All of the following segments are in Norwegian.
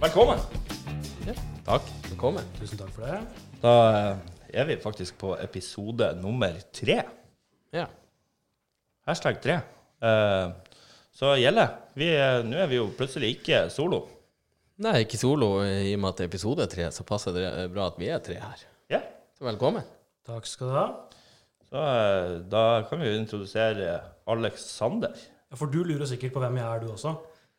Velkommen. Ja. Takk. Velkommen. Tusen takk for det. Da eh, er vi faktisk på episode nummer tre. Ja. Hashtag tre. Eh, så gjelder. Vi er- Nå er vi jo plutselig ikke solo. Nei, ikke solo. I og med at det er episode tre, så passer det bra at vi er tre her. Ja. Så velkommen. Takk skal du ha. Så eh, da kan vi jo introdusere Alexander. Ja, For du lurer sikkert på hvem jeg er, du også.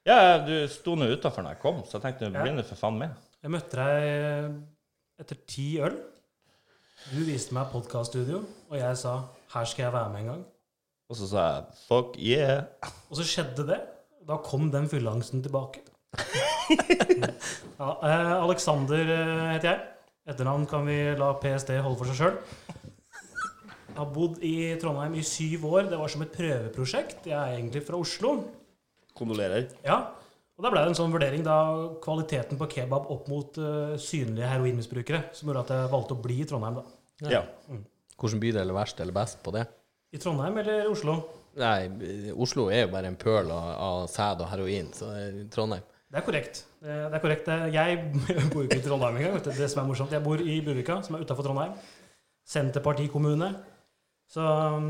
Ja, du sto nå utafor da jeg kom, så jeg tenkte nå Ja. blir du for faen med. Jeg møtte deg eh, etter ti øl. Du viste meg podkaststudio, og jeg sa 'her skal jeg være med en gang'. Og så sa jeg fuck yeah. Og så skjedde det. Da kom den fylleangsten tilbake. ja, eh, Alexander eh, heter jeg. Etternavn kan vi la PST holde for seg sjøl. Jeg har bodd i Trondheim i syv år. Det var som et prøveprosjekt. Jeg er egentlig fra Oslo. Kondolerer. Ja, og da ble det en sånn vurdering da kvaliteten på kebab opp mot eh, synlige heroinmisbrukere, som gjorde at jeg valgte å bli i Trondheim, da. Ja. Hvilken bydel er verst eller best på det? I Trondheim eller Oslo? Nei, Oslo er jo bare en pøl av, av sæd og heroin, så eh, Trondheim Det er korrekt. Det, det er korrekt. Det- Jeg bor jo ikke i Trondheim engang. vet du. Det som er morsomt, jeg bor i Buvika, som er utafor Trondheim. Senterpartikommune. Så um,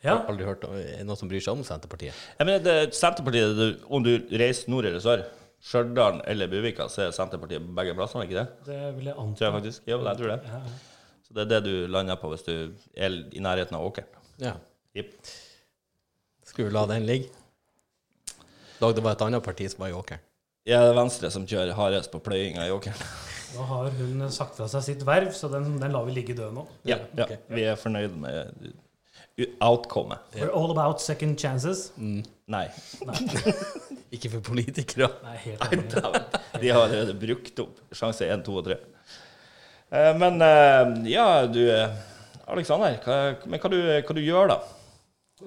ja. Har Aldri hørt om er det noen som bryr seg om Senterpartiet. Jeg mener, det, Senterpartiet, det, om du reiser nord eller sør, Stjørdal eller Buvika, så er Senterpartiet på begge plassene, ikke det? Det vil jeg anta. Tror jeg faktisk. Jo, jeg tror det. Ja, ja. Så det er det du lander på hvis du er i nærheten av åkeren. Ja. Jipp. Skulle vi la den ligge? Dag, det var et annet parti som var i åkeren. Ja, det er Venstre som kjører hardest på pløyinga i åkeren. Nå har hun sagt fra seg sitt verv, så den, den lar vi ligge død nå. Ja, ja. Vi er fornøyd med u- outcomet. We're all about second chances. Nei. Ikke for politikere. Nei, helt enig. De har allerede brukt opp sjanse én, to og tre. Eh, Men eh, ja, du eh, Aleksander, hva, men hva, du, hva du gjør da?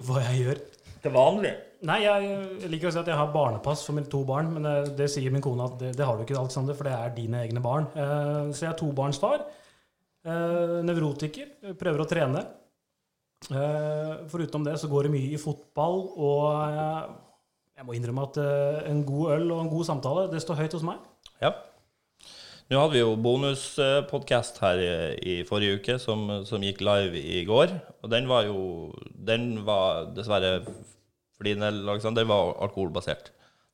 Hva jeg gjør. Til vanlig? Nei, jeg, jeg liker å si at jeg har barnepass for mine to barn, men eh, det sier min kone at det, det har du ikke, Alexander, for det er dine egne barn. Eh, Så jeg er tobarnsfar, eh, nevrotiker, prøver å trene. Eh, Foruten det så går det mye i fotball, og eh, jeg må innrømme at eh, en god øl og en god samtale, det står høyt hos meg. Ja. Nå hadde vi jo bonuspodkast her i, i forrige uke, som, som gikk live i går. Og den var jo Den var dessverre for din del, Alexander, den var alkoholbasert.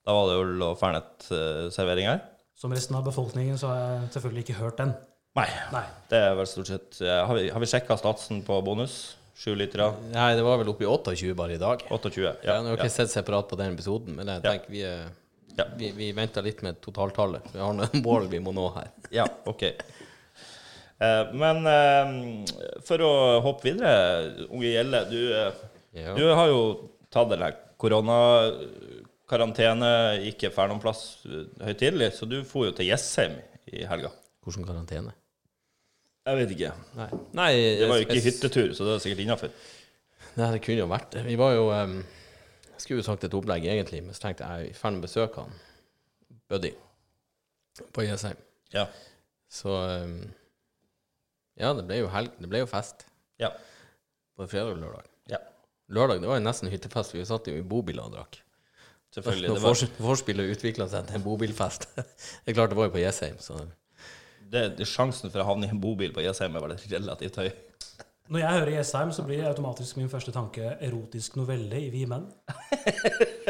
Da var det øl og Fernet-servering her. Som resten av befolkningen så har jeg selvfølgelig ikke hørt den. Nei. Nei. Det er vel stort sett eh, Har vi, har vi sjekka statsen på bonus? Sju liter? Nei, det var vel oppe i 28 bare i dag. 28? Ja, Ja. Nå har jeg ikke sett separat på den episoden, men jeg tenker vi, eh, Ja. vi, vi venter litt med totaltallet. Vi har noen mål vi må nå her. Ja, OK. Eh, Men eh, for å hoppe videre, unge Gjelle, du eh, Ja. Du har jo tatt den der koronakarantene, ikke fer noen plass eh, høytidelig, så du for jo til Jessheim i helga. Hvordan karantene? Jeg vet ikke. Nei, Nei Det var jo ikke jeg- jeg- hyttetur, så det er sikkert innafor. Nei, det kunne jo vært det. Vi var jo em, Jeg skulle jo sagt et opplegg, egentlig, men så tenkte jeg jeg er i ferd med å besøke han Buddy på Jessheim. Ja. Så em, Ja, det ble jo helg. Det ble jo fest Ja. både fredag og lørdag. ja. Lørdag det var jo nesten hyttefest, for vi satt jo i bobiler og drakk. Selvfølgelig. Når Det, vors- vorspielet utvikla seg til en bobilfest Det er klart det var jo på Jessheim, så var, det, det, sjansen for å havne i en bobil på Jessheim er vel relativt høy. Når jeg hører Jessheim, så blir automatisk min første tanke erotisk novelle i Vi menn.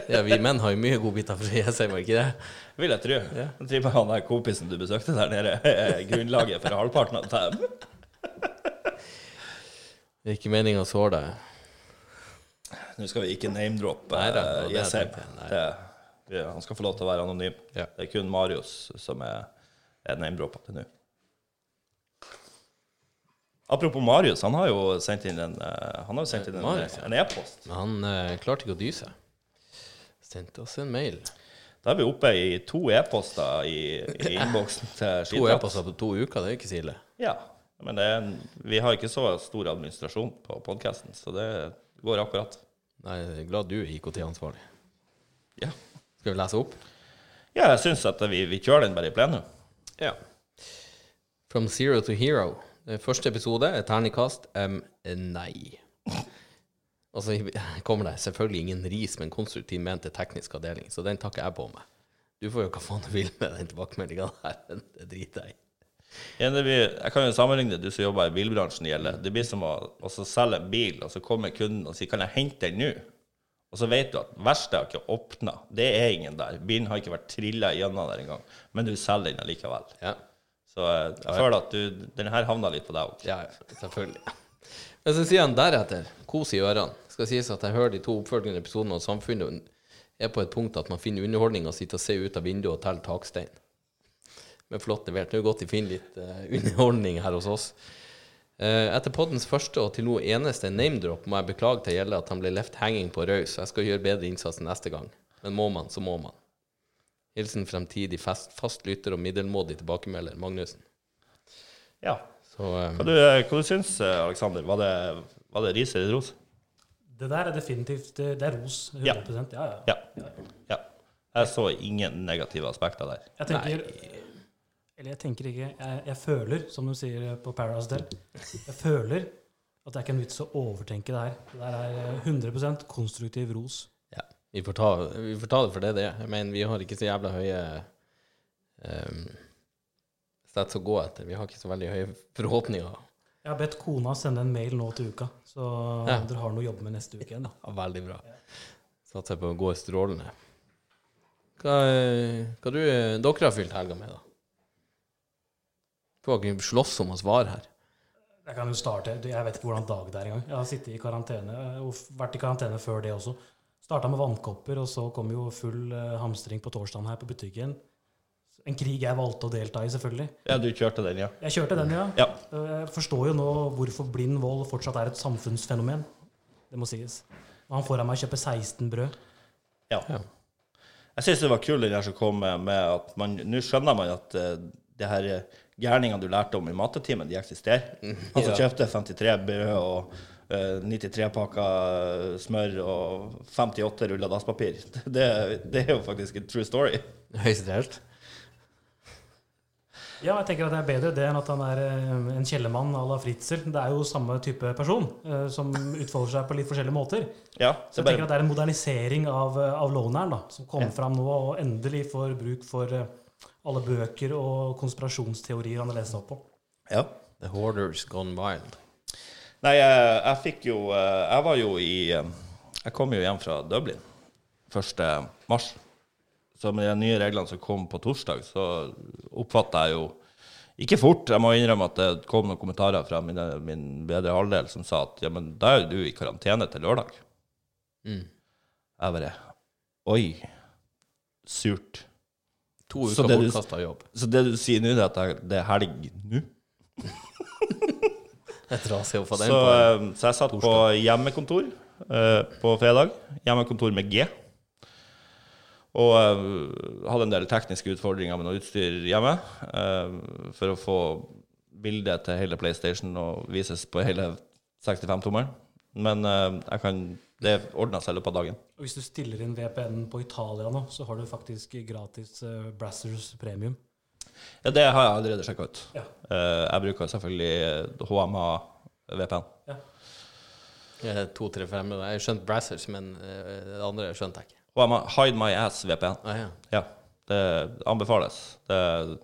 Ja, vi menn har jo mye godbiter fra Jessheim, var det ikke det? Vil jeg tro. Jeg tror med han der kompisen du besøkte der nede, er grunnlaget for halvparten av dem. Det er ikke meninga å såre deg. Nå skal vi ikke name-droppe Nei, det er- eh, det er Jessheim. det jeg tenkte, nei. Det- vi- Han skal få lov til å være anonym. Ja. Det er kun Marius som er, er name-droppa til nå. Apropos Marius, han har jo sendt inn en eh, Han har jo sendt inn en, Marius, en e-post. Men han eh, klarte ikke å dy seg. Sendte oss en mail. Da er vi oppe i to e-poster i, i innboksen til To Skitprat. e-poster på to uker, det er ikke så ille. Ja. Men det er, en- vi har ikke så stor administrasjon på podkasten, så det går akkurat. Nei, jeg er glad du er IKT-ansvarlig. Ja, Skal vi lese opp? ja jeg syns at vi, vi kjører den bare i plenum. Ja. From zero to hero. Det er Første episode er terningkast em, eh, nei. Og så kommer det selvfølgelig ingen ris, men konstruktiv ment til teknisk avdeling, så den takker jeg på meg. Du får gjøre hva faen du vil med den tilbakemeldinga der, men det driter jeg i. Ja, det blir, jeg kan jo sammenligne det du som jobber i bilbransjen gjelder. Det blir som å å så selge en bil, og så kommer kunden og sier 'kan jeg hente den nå?' Og så vet du at verkstedet har ikke åpna. Det er ingen der. Bilen har ikke vært trilla gjennom der engang. Men du selger den allikevel. Ja. Så jeg, jeg føler at du, den her havna litt på deg òg. Ja, ja, selvfølgelig. Men så sier han deretter, kos i ørene. Skal sies at jeg hører de to oppfølgende episodene av Samfunnet er på et punkt at man finner underholdning å sitte og se ut av vinduet og telle takstein. Men flott levert. Nå er det godt de finner litt eh, underholdning her hos oss. Eh, etter poddens første og til nå eneste name-drop må jeg beklage til gjelde at han ble left hanging på raus. Jeg skal gjøre bedre innsats neste gang. Men må man, så må man. Hilsen fremtidig fast, fast lytter og middelmådig tilbakemelder Magnussen. Ja. Så eh, Hva, du, hva du syns du, Aleksander? Var det, var det ris eller ros? Det der er definitivt Det det er ros. 100 ja. Ja, Ja. ja. Jeg så ingen negative aspekter der. Jeg tenker Eller jeg tenker ikke jeg, jeg føler, som de sier på Paradise Del, jeg føler at det er ikke en vits å overtenke det her. Det der er 100 konstruktiv ros. Ja, vi får, ta, vi får ta det for det det er. Jeg mener, vi har ikke så jævla høye um, stats å gå etter. Vi har ikke så veldig høye forhåpninger Jeg har bedt kona sende en mail nå til uka, så Ja. dere har noe å jobbe med neste uke igjen. da. Ja, veldig bra. Satser på å gå strålende. Hva, eh, hva du, dere har fylt helga med, da? Får ikke slåss om å svare her. Jeg kan jo starte. Du, Jeg vet ikke hvordan dag det er engang. Jeg har sittet i karantene, eh, og f- vært i karantene før det også. Starta med vannkopper, og så kom jo full eh, hamstring på torsdagen her på butikken. En krig jeg valgte å delta i, selvfølgelig. Ja, du kjørte den, ja. Jeg kjørte den, ja. Ja. Eh, Jeg forstår jo nå hvorfor blind vold fortsatt er et samfunnsfenomen. Det må sies. Og han får av meg å kjøpe 16 brød. ja. Ja. Jeg syns det var kul den der som kom med, med at man Nå skjønner man at eh, det her eh, gjerningene du lærte om i mattetimen, de eksisterer. Han som Ja. kjøpte 53 brød og eh, 93 pakker eh, smør og 58 ruller dasspapir. Det, det er jo faktisk en true story. Høyst reelt. Ja, jeg tenker at det er bedre det enn at han er eh, en kjellermann à la Fritzel. Det er jo samme type person eh, som utfolder seg på litt forskjellige måter. Ja, Så det jeg tenker bare, at det er en modernisering av, eh, av låneren da, som kommer fram nå, og endelig får bruk for eh, alle bøker og konspirasjonsteorier han har lest opp på. ja. The hoarders gone wild. Nei, jeg, jeg fikk jo eh, Jeg var jo i eh, Jeg kom jo hjem fra Dublin 1. mars. Så med de nye reglene som kom på torsdag, så oppfatta jeg jo Ikke fort, jeg må innrømme at det kom noen kommentarer fra mine, min bedre halvdel som sa at ja, men da er jo du i karantene til lørdag. Mm. Jeg bare Oi. Surt. To Så uker det du- bortkasta jobb. Så det du sier nå, det er at jeg- det er helg nå? Det er trasig å få den så, på. eh, så jeg satt på hjemmekontor eh, på fredag. Hjemmekontor med G. Og eh, hadde en del tekniske utfordringer med noe utstyr hjemme eh, for å få bildet til hele PlayStation og vises på hele 65-tommeren. Men eh, jeg kan, det ordna seg i løpet av dagen. Og hvis du stiller inn VPN på Italia nå, så har du faktisk gratis eh, Brassers premium. Ja, det har jeg allerede sjekka ut. Ja. Eh, jeg bruker selvfølgelig HMA VPN. Eh, To, tre, fem. Jeg skjønte Brassers, men eh, det andre skjønte jeg ikke. HMA Hide My Ass VPN. Ah, ja. Ja, det anbefales. Det,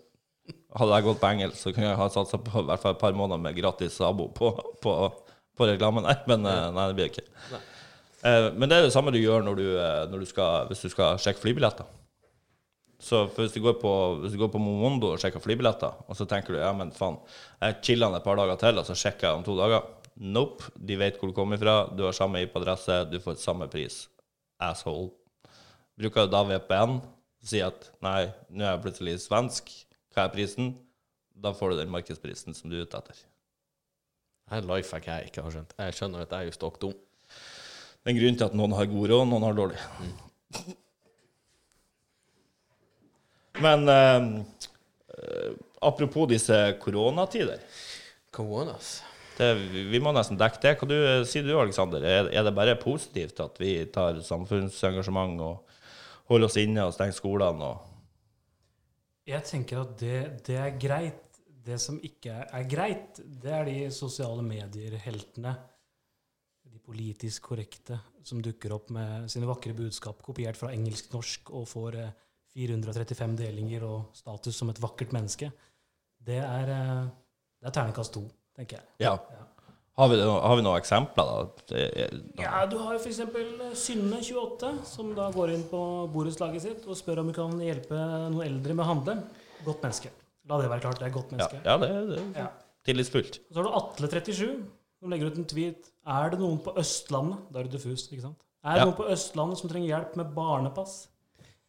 hadde jeg gått på engelsk, så kunne jeg ha satsa på i hvert fall et par måneder med gratis abo på, på, på reklamen der, men eh, nei, det blir det ikke. Nei. Eh, Men det er det samme du gjør når du, eh, når du skal, hvis du skal sjekke flybilletter. Så for hvis du går på, hvis du går på Momondo og sjekker flybilletter, og så tenker du ja, men faen, jeg chiller et par dager til, og så sjekker jeg om to dager. Nope, de vet hvor du kommer fra, du har samme IP-adresse, du får samme pris. Asshole bruker da VPN og sier at nei, nå er jeg plutselig svensk, hva er prisen? Da får du den markedsprisen som du er ute etter. Det er en life hack jeg ikke har skjønt. Jeg skjønner at jeg er jo stokk dum. Det er en grunn til at noen har god råd, og noen har dårlig. Mm. Men eh, eh, apropos disse koronatider, Coronas. det, vi må nesten dekke det. Hva du, eh, sier du, Aleksander? Er, er det bare positivt at vi tar samfunnsengasjement og holder oss inne og stenger skolene og Jeg tenker at det, det er greit. Det som ikke er, er greit, det er de sosiale medier-heltene, de politisk korrekte, som dukker opp med sine vakre budskap kopiert fra engelsk-norsk og får eh, 435 delinger og status som et vakkert menneske, det er, eh, det er terningkast to, tenker jeg. Ja. Har vi, har vi noen eksempler, da? eh, Det er- Ja, Du har jo f.eks. Synne, 28, som da går inn på borettslaget sitt og spør om hun kan hjelpe noen eldre med å handle. Godt menneske. La det være klart, det er godt Ja, menneske. ja det, det er Ja. tillitsfullt. Så har du Atle, 37, som legger ut en tweet. Er det noen på Østlandet Da er du diffus, ikke sant? Er det Ja. noen på Østlandet som trenger hjelp med barnepass?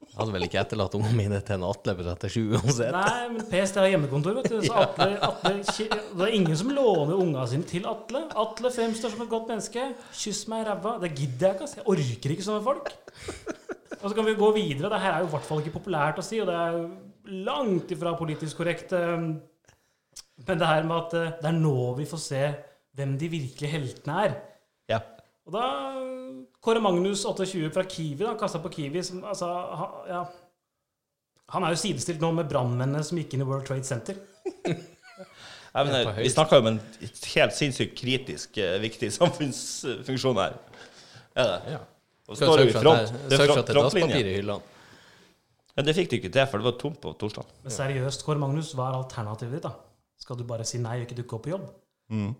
Jeg hadde vel ikke etterlatt ungene mine til en Atle på 37 uansett. Nei, men PST har hjemmekontor, vet du. Så Atle, Atle, ki- det er ingen som låner unga sine til Atle. Atle fremstår som et godt menneske. Kyss meg i ræva. Det gidder jeg ikke. ass. Jeg orker ikke sånne folk. Og så kan vi gå videre. Det her er jo i hvert fall ikke populært å si, og det er jo langt ifra politisk korrekt. eh, Men det her med at eh, det er nå vi får se hvem de virkelige heltene er. Ja. Og da Kåre Magnus, 28, fra Kiwi, da, kasta på Kiwi som, altså, ha, ja. Han er jo sidestilt nå med brannmennene som gikk inn i World Trade Center. Jeg mener, På høyest. eh, vi snakker jo om en helt sinnssykt kritisk eh, viktig samfunnsfunksjon her. Er det? Ja. Og Skal står jo sørge i for front. at det- Det er sørge for front, at det er dasspapir frontlinje. i hyllene. Men det fikk du ikke til, for det var tomt på torsdag. Men seriøst, Kåre Magnus, hva er alternativet ditt? da? Skal du bare si nei og ikke dukke opp på jobb? Mm.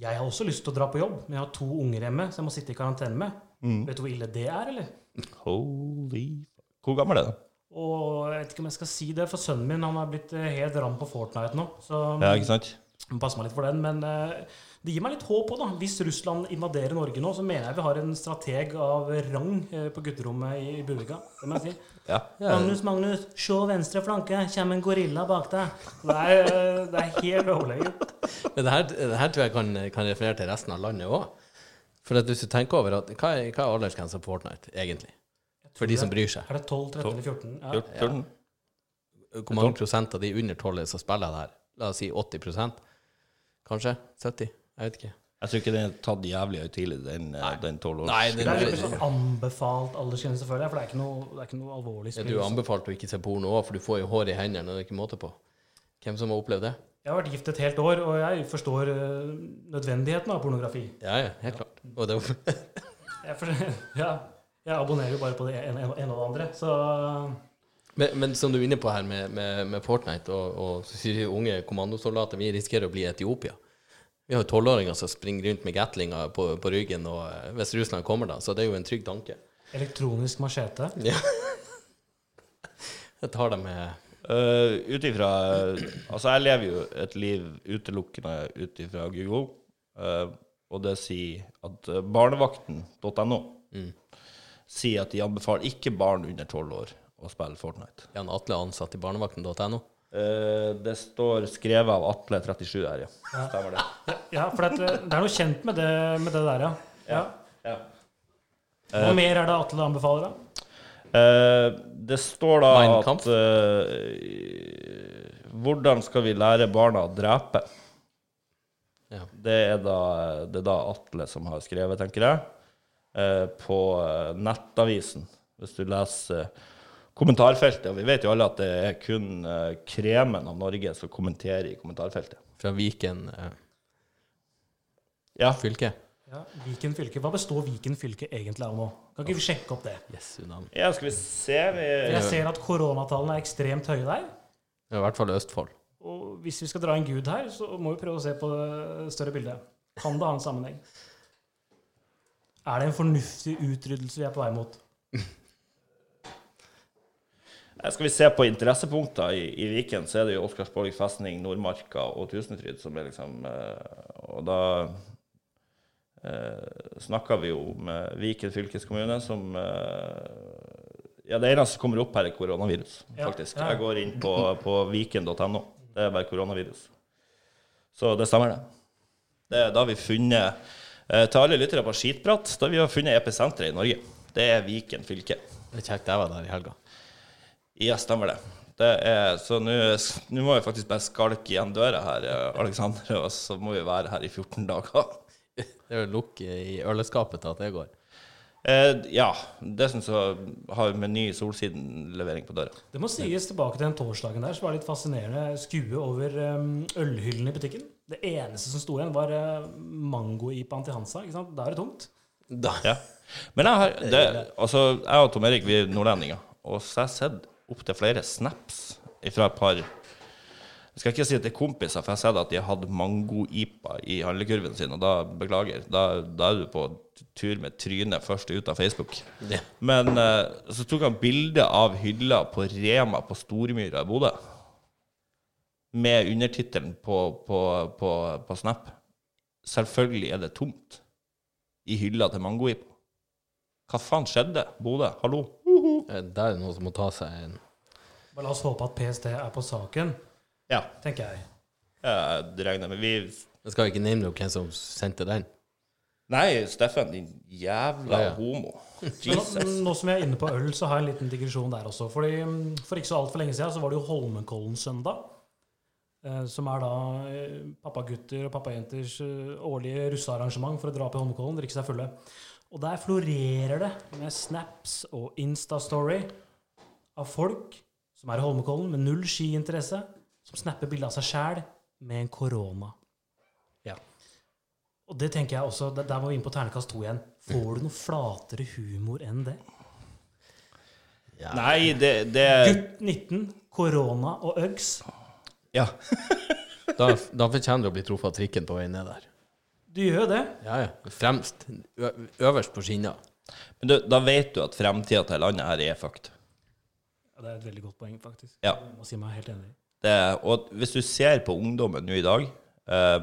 Jeg har også lyst til å dra på jobb, men jeg har to unger hjemme som jeg må sitte i karantene med. Mm. Vet du hvor ille det er, eller? Holy Hvor gammel er den? Og jeg vet ikke om jeg skal si det, for sønnen min han har blitt eh, helt ram på Fortnite nå. Så mm, Ja, ikke sant? Må passe meg litt for den, men eh, det gir meg litt håp òg, da. Hvis Russland invaderer Norge nå, så mener jeg vi har en strateg av rang eh, på gutterommet i Buviga. Det må jeg si. Ja. Magnus, Magnus, se venstre flanke, kommer en gorilla bak deg. Det er, eh, det er helt overlegent. Men det her, det her tror jeg kan, kan referere til resten av landet òg. For at hvis du tenker over at Hva er, hva er aldersgrensa på Fortnite, egentlig? For de som bryr seg. Er det 12, 13 eller 14? Ja. 14? Hvor mange prosent av de under 12 som spiller det her? La oss si 80 Kanskje? 70? Jeg vet ikke. Jeg tror ikke den er tatt jævlig høytidelig, den, eh, den 12 års. Nei, den- Det er jo ikke sånn anbefalt aldersgrense, føler jeg, for det er ikke noe, det er ikke noe alvorlig Ja, Du er anbefalt å ikke se porno òg, for du får jo hår i hendene, og det er ikke måte på. Hvem som har opplevd det? Jeg har vært gift et helt år, og jeg forstår eh, nødvendigheten av pornografi. Ja, ja, helt klart. Og det, Jeg, for, ja, jeg abonnerer jo bare på det ene ene og det andre, så eh, men, men som du er inne på her med, med, med Fortnite, og, og så sier de unge kommandosoldater vi risikerer å bli Etiopia. Vi har jo tolvåringer som springer rundt med gatlinger på, på ryggen, og eh, hvis Russland kommer, da, så det er jo en trygg tanke. Elektronisk machete. Jeg tar det med Uh, ut ifra Altså, jeg lever jo et liv utelukkende ut ifra Google, eh, og det sier at eh, barnevakten.no sier at de anbefaler ikke barn under 12 år å spille Fortnite. Jan Atle ansatt i barnevakten.no. Eh, det står skrevet av Atle37 her, ja. Stemmer det. Ja, for det, det er noe kjent med det, med det der, ja. ja. Ja. Hva Eh. mer er det Atle anbefaler, da? Eh, det står da Mein Kampf. at eh, Hvordan skal vi lære barna å drepe? Ja. Det er da, det er da Atle som har skrevet, tenker jeg, eh, på eh, nettavisen. Hvis du leser eh, kommentarfeltet, og vi vet jo alle at det er kun eh, kremen av Norge som kommenterer i kommentarfeltet. Fra Viken eh, Ja, fylke. Ja, Viken fylke. Hva består Viken fylke egentlig av nå? Kan ikke vi sjekke opp det? Yes, tsunami. ja skal vi se vi, Jeg ser at koronatallene er ekstremt høye der. I hvert fall Østfold. Og hvis vi skal dra en gud her, så må vi prøve å se på det større bildet. Kan det ha en sammenheng? Er det en fornuftig utryddelse vi er på vei mot? Eh, Skal vi se på interessepunkter i, i Viken, så er det jo Oscarsborg, festning, Nordmarka og Tusenfryd som er liksom eh, Og da eh, snakker vi jo med Viken fylkeskommune, som eh, Ja, det eneste som kommer opp her, er koronavirus, Ja, faktisk. ja. Jeg går inn på, på viken.no. Det er bare koronavirus. Så det stemmer, det. Det er da vi funnet eh, Til alle lyttere på skitprat, da vi har funnet episenteret i Norge. Det er Viken fylke. Det er kjekt jeg var der i helga. Ja, stemmer det. det er, så nå nå må vi faktisk bare skalke igjen døra her, eh, Alexander, og så må vi være her i 14 dager. Det er jo lukk i øleskapet til at det går. Eh, ja. Dessuten så har vi Meny Solsiden-levering på døra. Det må sies tilbake til den torsdagen der, så var det litt fascinerende skue over um, ølhyllene i butikken. Det eneste som sto igjen, var uh, mango-ipaen til Hansa. ikke sant? Da er det tomt. Da. Ja. Men jeg har det, Altså, jeg og Tom Erik, vi er nordlendinger, og så har jeg sett opptil flere snaps fra et par Jeg skal ikke si at det er kompiser, for jeg har sett at de har hatt mango-ipa i handlekurven sin, og da beklager. Da, da er du på tur med trynet først ut av Facebook. Ja. Men eh, så tok han bilde av hylla på Rema på Stormyra i Bodø. Med undertittelen på, på, på, på Snap. Selvfølgelig er det tomt i hylla til Mangoipa. Hva faen skjedde? Bodø, hallo? Eh, Der er det noen som må ta seg en Bare la oss håpe at PST er på saken, Ja, tenker jeg. jeg regner med vi Jeg skal ikke name hvem som sendte den. Nei, Steffen, din jævla Ja, ja. homo. Men Jesus. nå, nå som jeg er inne på øl, så har jeg en liten digresjon der også. Fordi mm, For ikke så altfor lenge siden så var det jo Holmenkollen-søndag. eh, Som er da eh, pappagutter og pappajenters eh, årlige russearrangement for å dra på Holmenkollen, drikke seg fulle. Og der florerer det med snaps og Insta-story av folk som er i Holmenkollen med null skiinteresse, som snapper bilde av seg sjæl med en korona. Ja. Og det tenker jeg også, der- Der var vi inne på ternekast to igjen. Får du noe flatere humor enn det? Nei, det, det Gutt 19, korona og Uggs. Ja. Da, da fortjener du å bli truffet av trikken på vei ned der. Du gjør jo det. Ja, ja. Fremst. Ø øverst på skinna. Men du, da vet du at fremtida til landet her er fucked. Ja, det er et veldig godt poeng, faktisk. Ja. Jeg må si meg helt enig. Det, og hvis du ser på ungdommen nå i dag eh,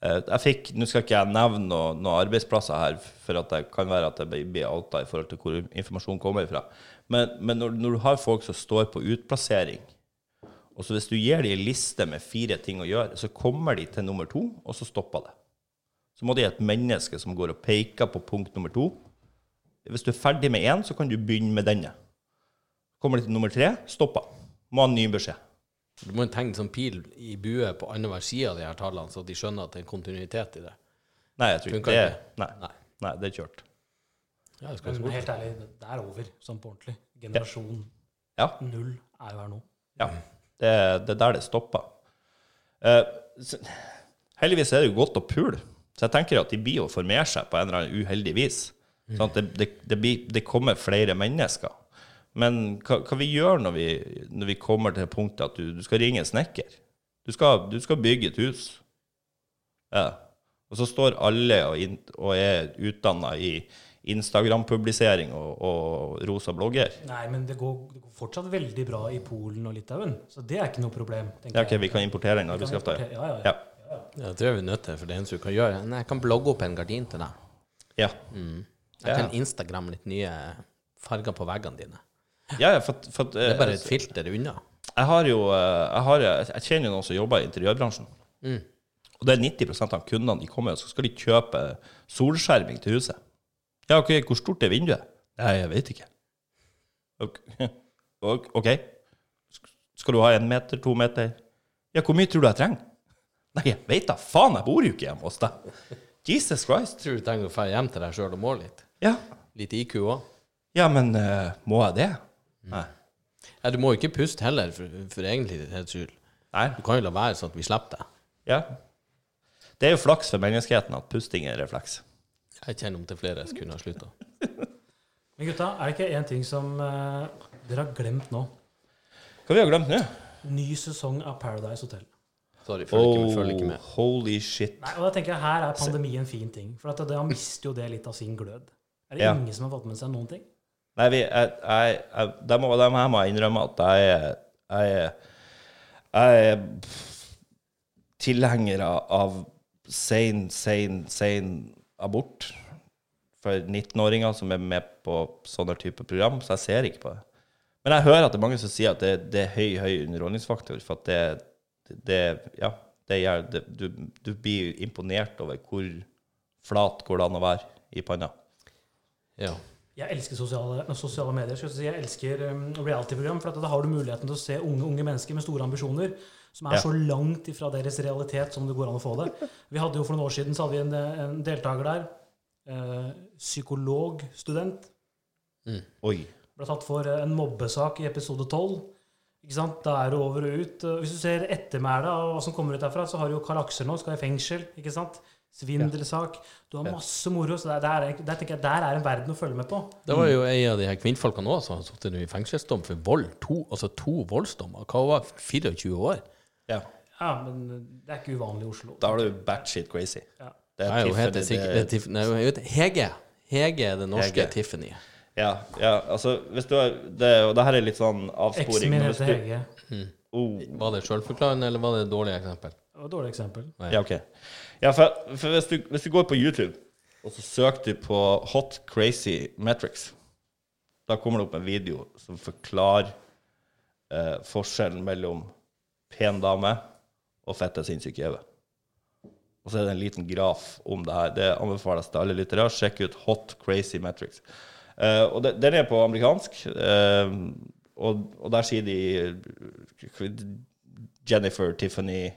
eh, Jeg fikk, Nå skal ikke jeg nevne noen noe arbeidsplasser her, for at det kan være at jeg blir outa i forhold til hvor informasjonen kommer fra. Men, men når, når du har folk som står på utplassering og så Hvis du gir dem en liste med fire ting å gjøre, så kommer de til nummer to, og så stopper det. Så må de ha et menneske som går og peker på punkt nummer to. Hvis du er ferdig med én, så kan du begynne med denne. Kommer de til nummer tre, stopper. Må ha en ny beskjed. Du må jo tegne sånn pil i bue på annenhver side av de her tallene, så de skjønner at det er en kontinuitet i det. Nei, jeg tror ikke Funker det. ikke. Nei. Nei. Nei, det er kjørt. Ja, jeg skal Men ikke bort. helt ærlig, det er over, sånn på ordentlig. Generasjon Ja. null er jo her nå. ja. Det, det er der det stopper. Eh, så- heldigvis er det jo godt å pule, så jeg tenker at de blir å formere seg på en eller annen uheldig vis. Mm. Sånn at det, det, det, blir, det kommer flere mennesker. Men hva, hva vi gjør når vi, når vi kommer til punktet at du, du skal ringe en snekker? Du skal, du skal bygge et hus. Ja. Og så står alle og, in, og er utdanna i Instagram-publisering og, og rosa blogger. Nei, men det går, det går fortsatt veldig bra i Polen og Litauen, så det er ikke noe problem. tenker Ja, ok, vi kan importere den Vi kan arbeidskrafta. importere- Ja, ja, ja. Ja. Ja, det tror jeg vi er nødt til, for det eneste du kan gjøre Nei, Jeg kan blogge opp en gardin til deg. Ja. Mm. Jeg kan Instagram litt nye farger på veggene dine. ja, ja for, at- for at, Det er bare et eh, filter unna. Jeg har jo eh, Jeg, har, jeg kjenner jo noen som jobber i interiørbransjen. Mm. Og det er 90 av kundene de kommer, og så skal de kjøpe solskjerming til huset. Ja, ok, hvor stort er vinduet? Nei, jeg vet ikke. Ok. ok, ok. Sk- Skal du ha en meter, to meter? Ja, hvor mye tror du jeg trenger? Nei, jeg vet da faen, jeg bor jo ikke hjemme hos deg. Jesus Christ. Tror du trenger å dra hjem til deg sjøl og måle litt? Ja, Litt IQ òg? ja men eh, må jeg det? Nei. Mm. Ja, du må jo ikke puste heller, for, for egentlig helt skyld. Nei. Du kan jo la være sånn at vi slipper deg. Ja. Det er jo flaks for menneskeheten at pusting er refleks. Jeg kjenner om til flere som kunne ha slutta. Men gutta, er det ikke én ting som eh, dere har glemt nå? Hva vi har glemt nå? Ny sesong av Paradise Hotel. Sorry, følger ikke med. Følger ikke med. Oh, holy shit. Nei, og da tenker jeg Her er pandemi en fin ting, for at det, han mister jo det litt av sin glød. Er det Ja. ingen som har fått med seg noen ting? Nei, vi, jeg, jeg, jeg, dem, og dem her må jeg innrømme at jeg er jeg, er- jeg er tilhenger av sein, sein, sein abort for 19-åringer som er med på sånne type program, så jeg ser ikke på det. Men jeg hører at det er mange som sier at det, det er høy, høy underholdningsfaktor, for at det, det, det ja, det gjør, det, du, du blir imponert over hvor flat går det an å være i panna. Ja. Jeg elsker sosiale, nei, sosiale medier. Skal jeg si. Jeg elsker um, reality-program. For at da har du muligheten til å se unge, unge mennesker med store ambisjoner som er Ja. så langt ifra deres realitet som det går an å få det. Vi hadde jo For noen år siden så hadde vi en, eh, en deltaker der. Eh, psykologstudent. Oi. Ble tatt for eh, en mobbesak i episode 12. Ikke sant? Da er det over og ut. Eh, Hvis du ser ettermælet og hva som kommer ut derfra, så har jo Karl Akser nå, skal i fengsel. ikke sant? svindelsak Du har masse moro. Så der, der, er- der tenker jeg der er en verden å følge med på. Det var jo ei av de her kvinnfolkene òg som har sittet nå i fengselsdom for vold. To, altså to voldsdommer. Hva hun var 24 år? Ja. Ja, men det er ikke uvanlig i Oslo. Da er du batshit crazy. Ja. Det Nei, hun Tiffany, heter sikkert det er Tiff- Nei, hun heter Hege. Hege er det norske Hege. Tiffany. Ja, ja, altså hvis du har det, Og det her er litt sånn Eksen avsporing. min men hvis heter du- Hege. Oh, Var det sjølforklarende, eller var det et dårlig eksempel? Det var et dårlig eksempel. ja, ok. Ja, for, for hvis, du, hvis du går på YouTube, og så søker du på Hot Crazy Metrics, da kommer det opp en video som forklarer eh, forskjellen mellom pen dame og fette sinnssyke jæve. Og så er det en liten graf om det her. Det anbefales til alle lyttere. Sjekk ut Hot Crazy Metrics. Eh, og det, den er på amerikansk, eh, og, og der sier de Jennifer, Tiffany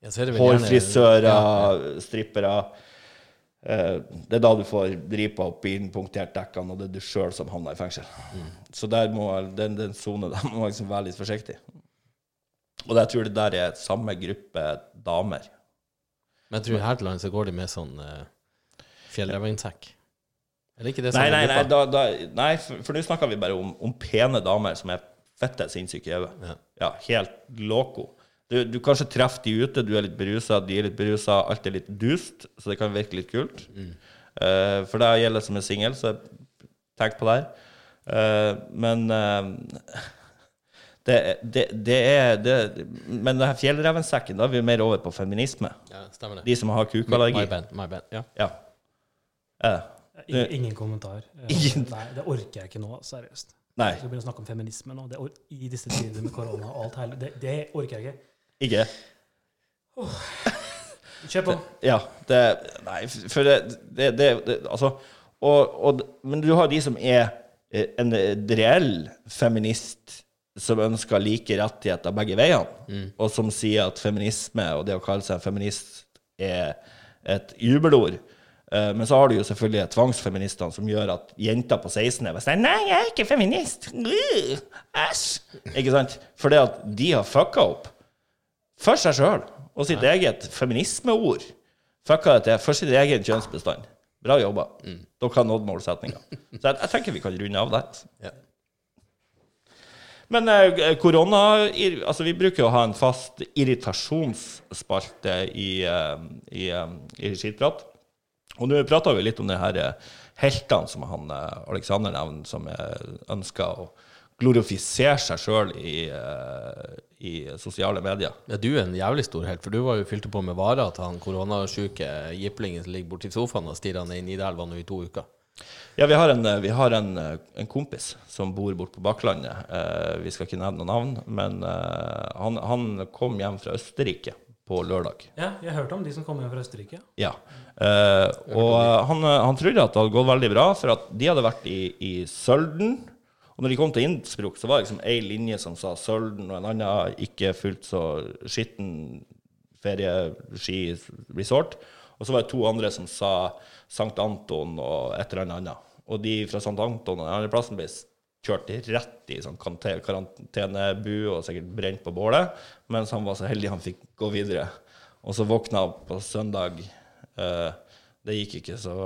Ja, så er det vel gjerne- Hårfrisører, Ja, strippere. Eh, Det er da du får dripa opp bilen, punktert dekkene, og det er du sjøl som havner i fengsel. Mm. Så der må, den, den sonen der må liksom være litt forsiktig. Og jeg tror det der er samme gruppe damer. Men jeg tror her til landet så går de med sånn uh, fjellrevinsekk. Er det ikke det Nei, samme nei, nei, gruppa? da, da, nei for, for nå snakker vi bare om, om pene damer som er fette sinnssyke i hodet. Ja. Ja, helt loco. Du, du kanskje treffer de ute, du er litt berusa, de er litt berusa, alt er litt dust, så det kan virke litt kult. Eh, for det gjelder som er singel, så tenk på det her. Eh, men eh, det, det, det er det, Men det her fjellrevensekken, da er vi mer over på feminisme. Ja, stemmer det. De som har My kukallergi. bad. My bad. Ja. Ja. Eh, Ingen, ingen kommentar. Eh, Ingen. Nei, det orker jeg ikke nå, seriøst. nei, Jeg skal begynne å snakke om feminisme nå. Det or I disse tider med korona og alt hele det, det orker jeg ikke. ikke. Kjør på. Ja, det Nei, for det, det, det, det Altså og, og, Men du har de som er eh, en reell feminist som ønsker like rettigheter begge veiene, og som sier at feminisme og det å kalle seg feminist er et jubelord. Eh, Men så har du jo selvfølgelig tvangsfeministene som gjør at jenter på 16 er bare sånn Nei, jeg er ikke feminist. Øh, Æsj. Ikke sant? Fordi at de har fucka opp for seg sjøl og sitt eget feminismeord. Fucka det til for sin egen kjønnsbestand. Bra jobba. Dere har nådd målsettinga. Så jeg, jeg tenker vi kan runde av der. Ja. Men eh, korona ir- Altså, vi bruker å ha en fast irritasjonsspalte i, eh, i, eh, i Skitprat. Og nå prata vi litt om de her eh, heltene som han eh, Alexander nevner, som eh, ønsker å glorifisere seg sjøl i, eh, i sosiale medier. Ja, du er en jævlig stor helt, for du var jo fylte på med varer til han koronasjuke jiplingen som ligger borti sofaen og stirrer ned i Nidelva nå i to uker. Ja, vi har en, eh, vi har en, eh, en kompis som bor borte på Bakklandet. Eh, vi skal ikke nevne noe navn, men eh, han, han kom hjem fra Østerrike på lørdag. Ja, jeg hørte om de som kom hjem fra Østerrike. Ja. Eh, og eh, han, eh, han trodde at det hadde gått veldig bra, for at de hadde vært i, i Sølden. Og når de kom til Innsbruck, så var det liksom ei linje som sa Sølden, og en annen ikke fullt så skitten ferieskiresort. Og så var det to andre som sa Sankt Anton og et eller annet annet. Og de fra Sankt Anton og den andre plassen ble s- kjørt rett i sånn kante- karantenebu og sikkert brent på bålet, mens han var så heldig han fikk gå videre. Og så våkna han på søndag. Eh, det gikk ikke så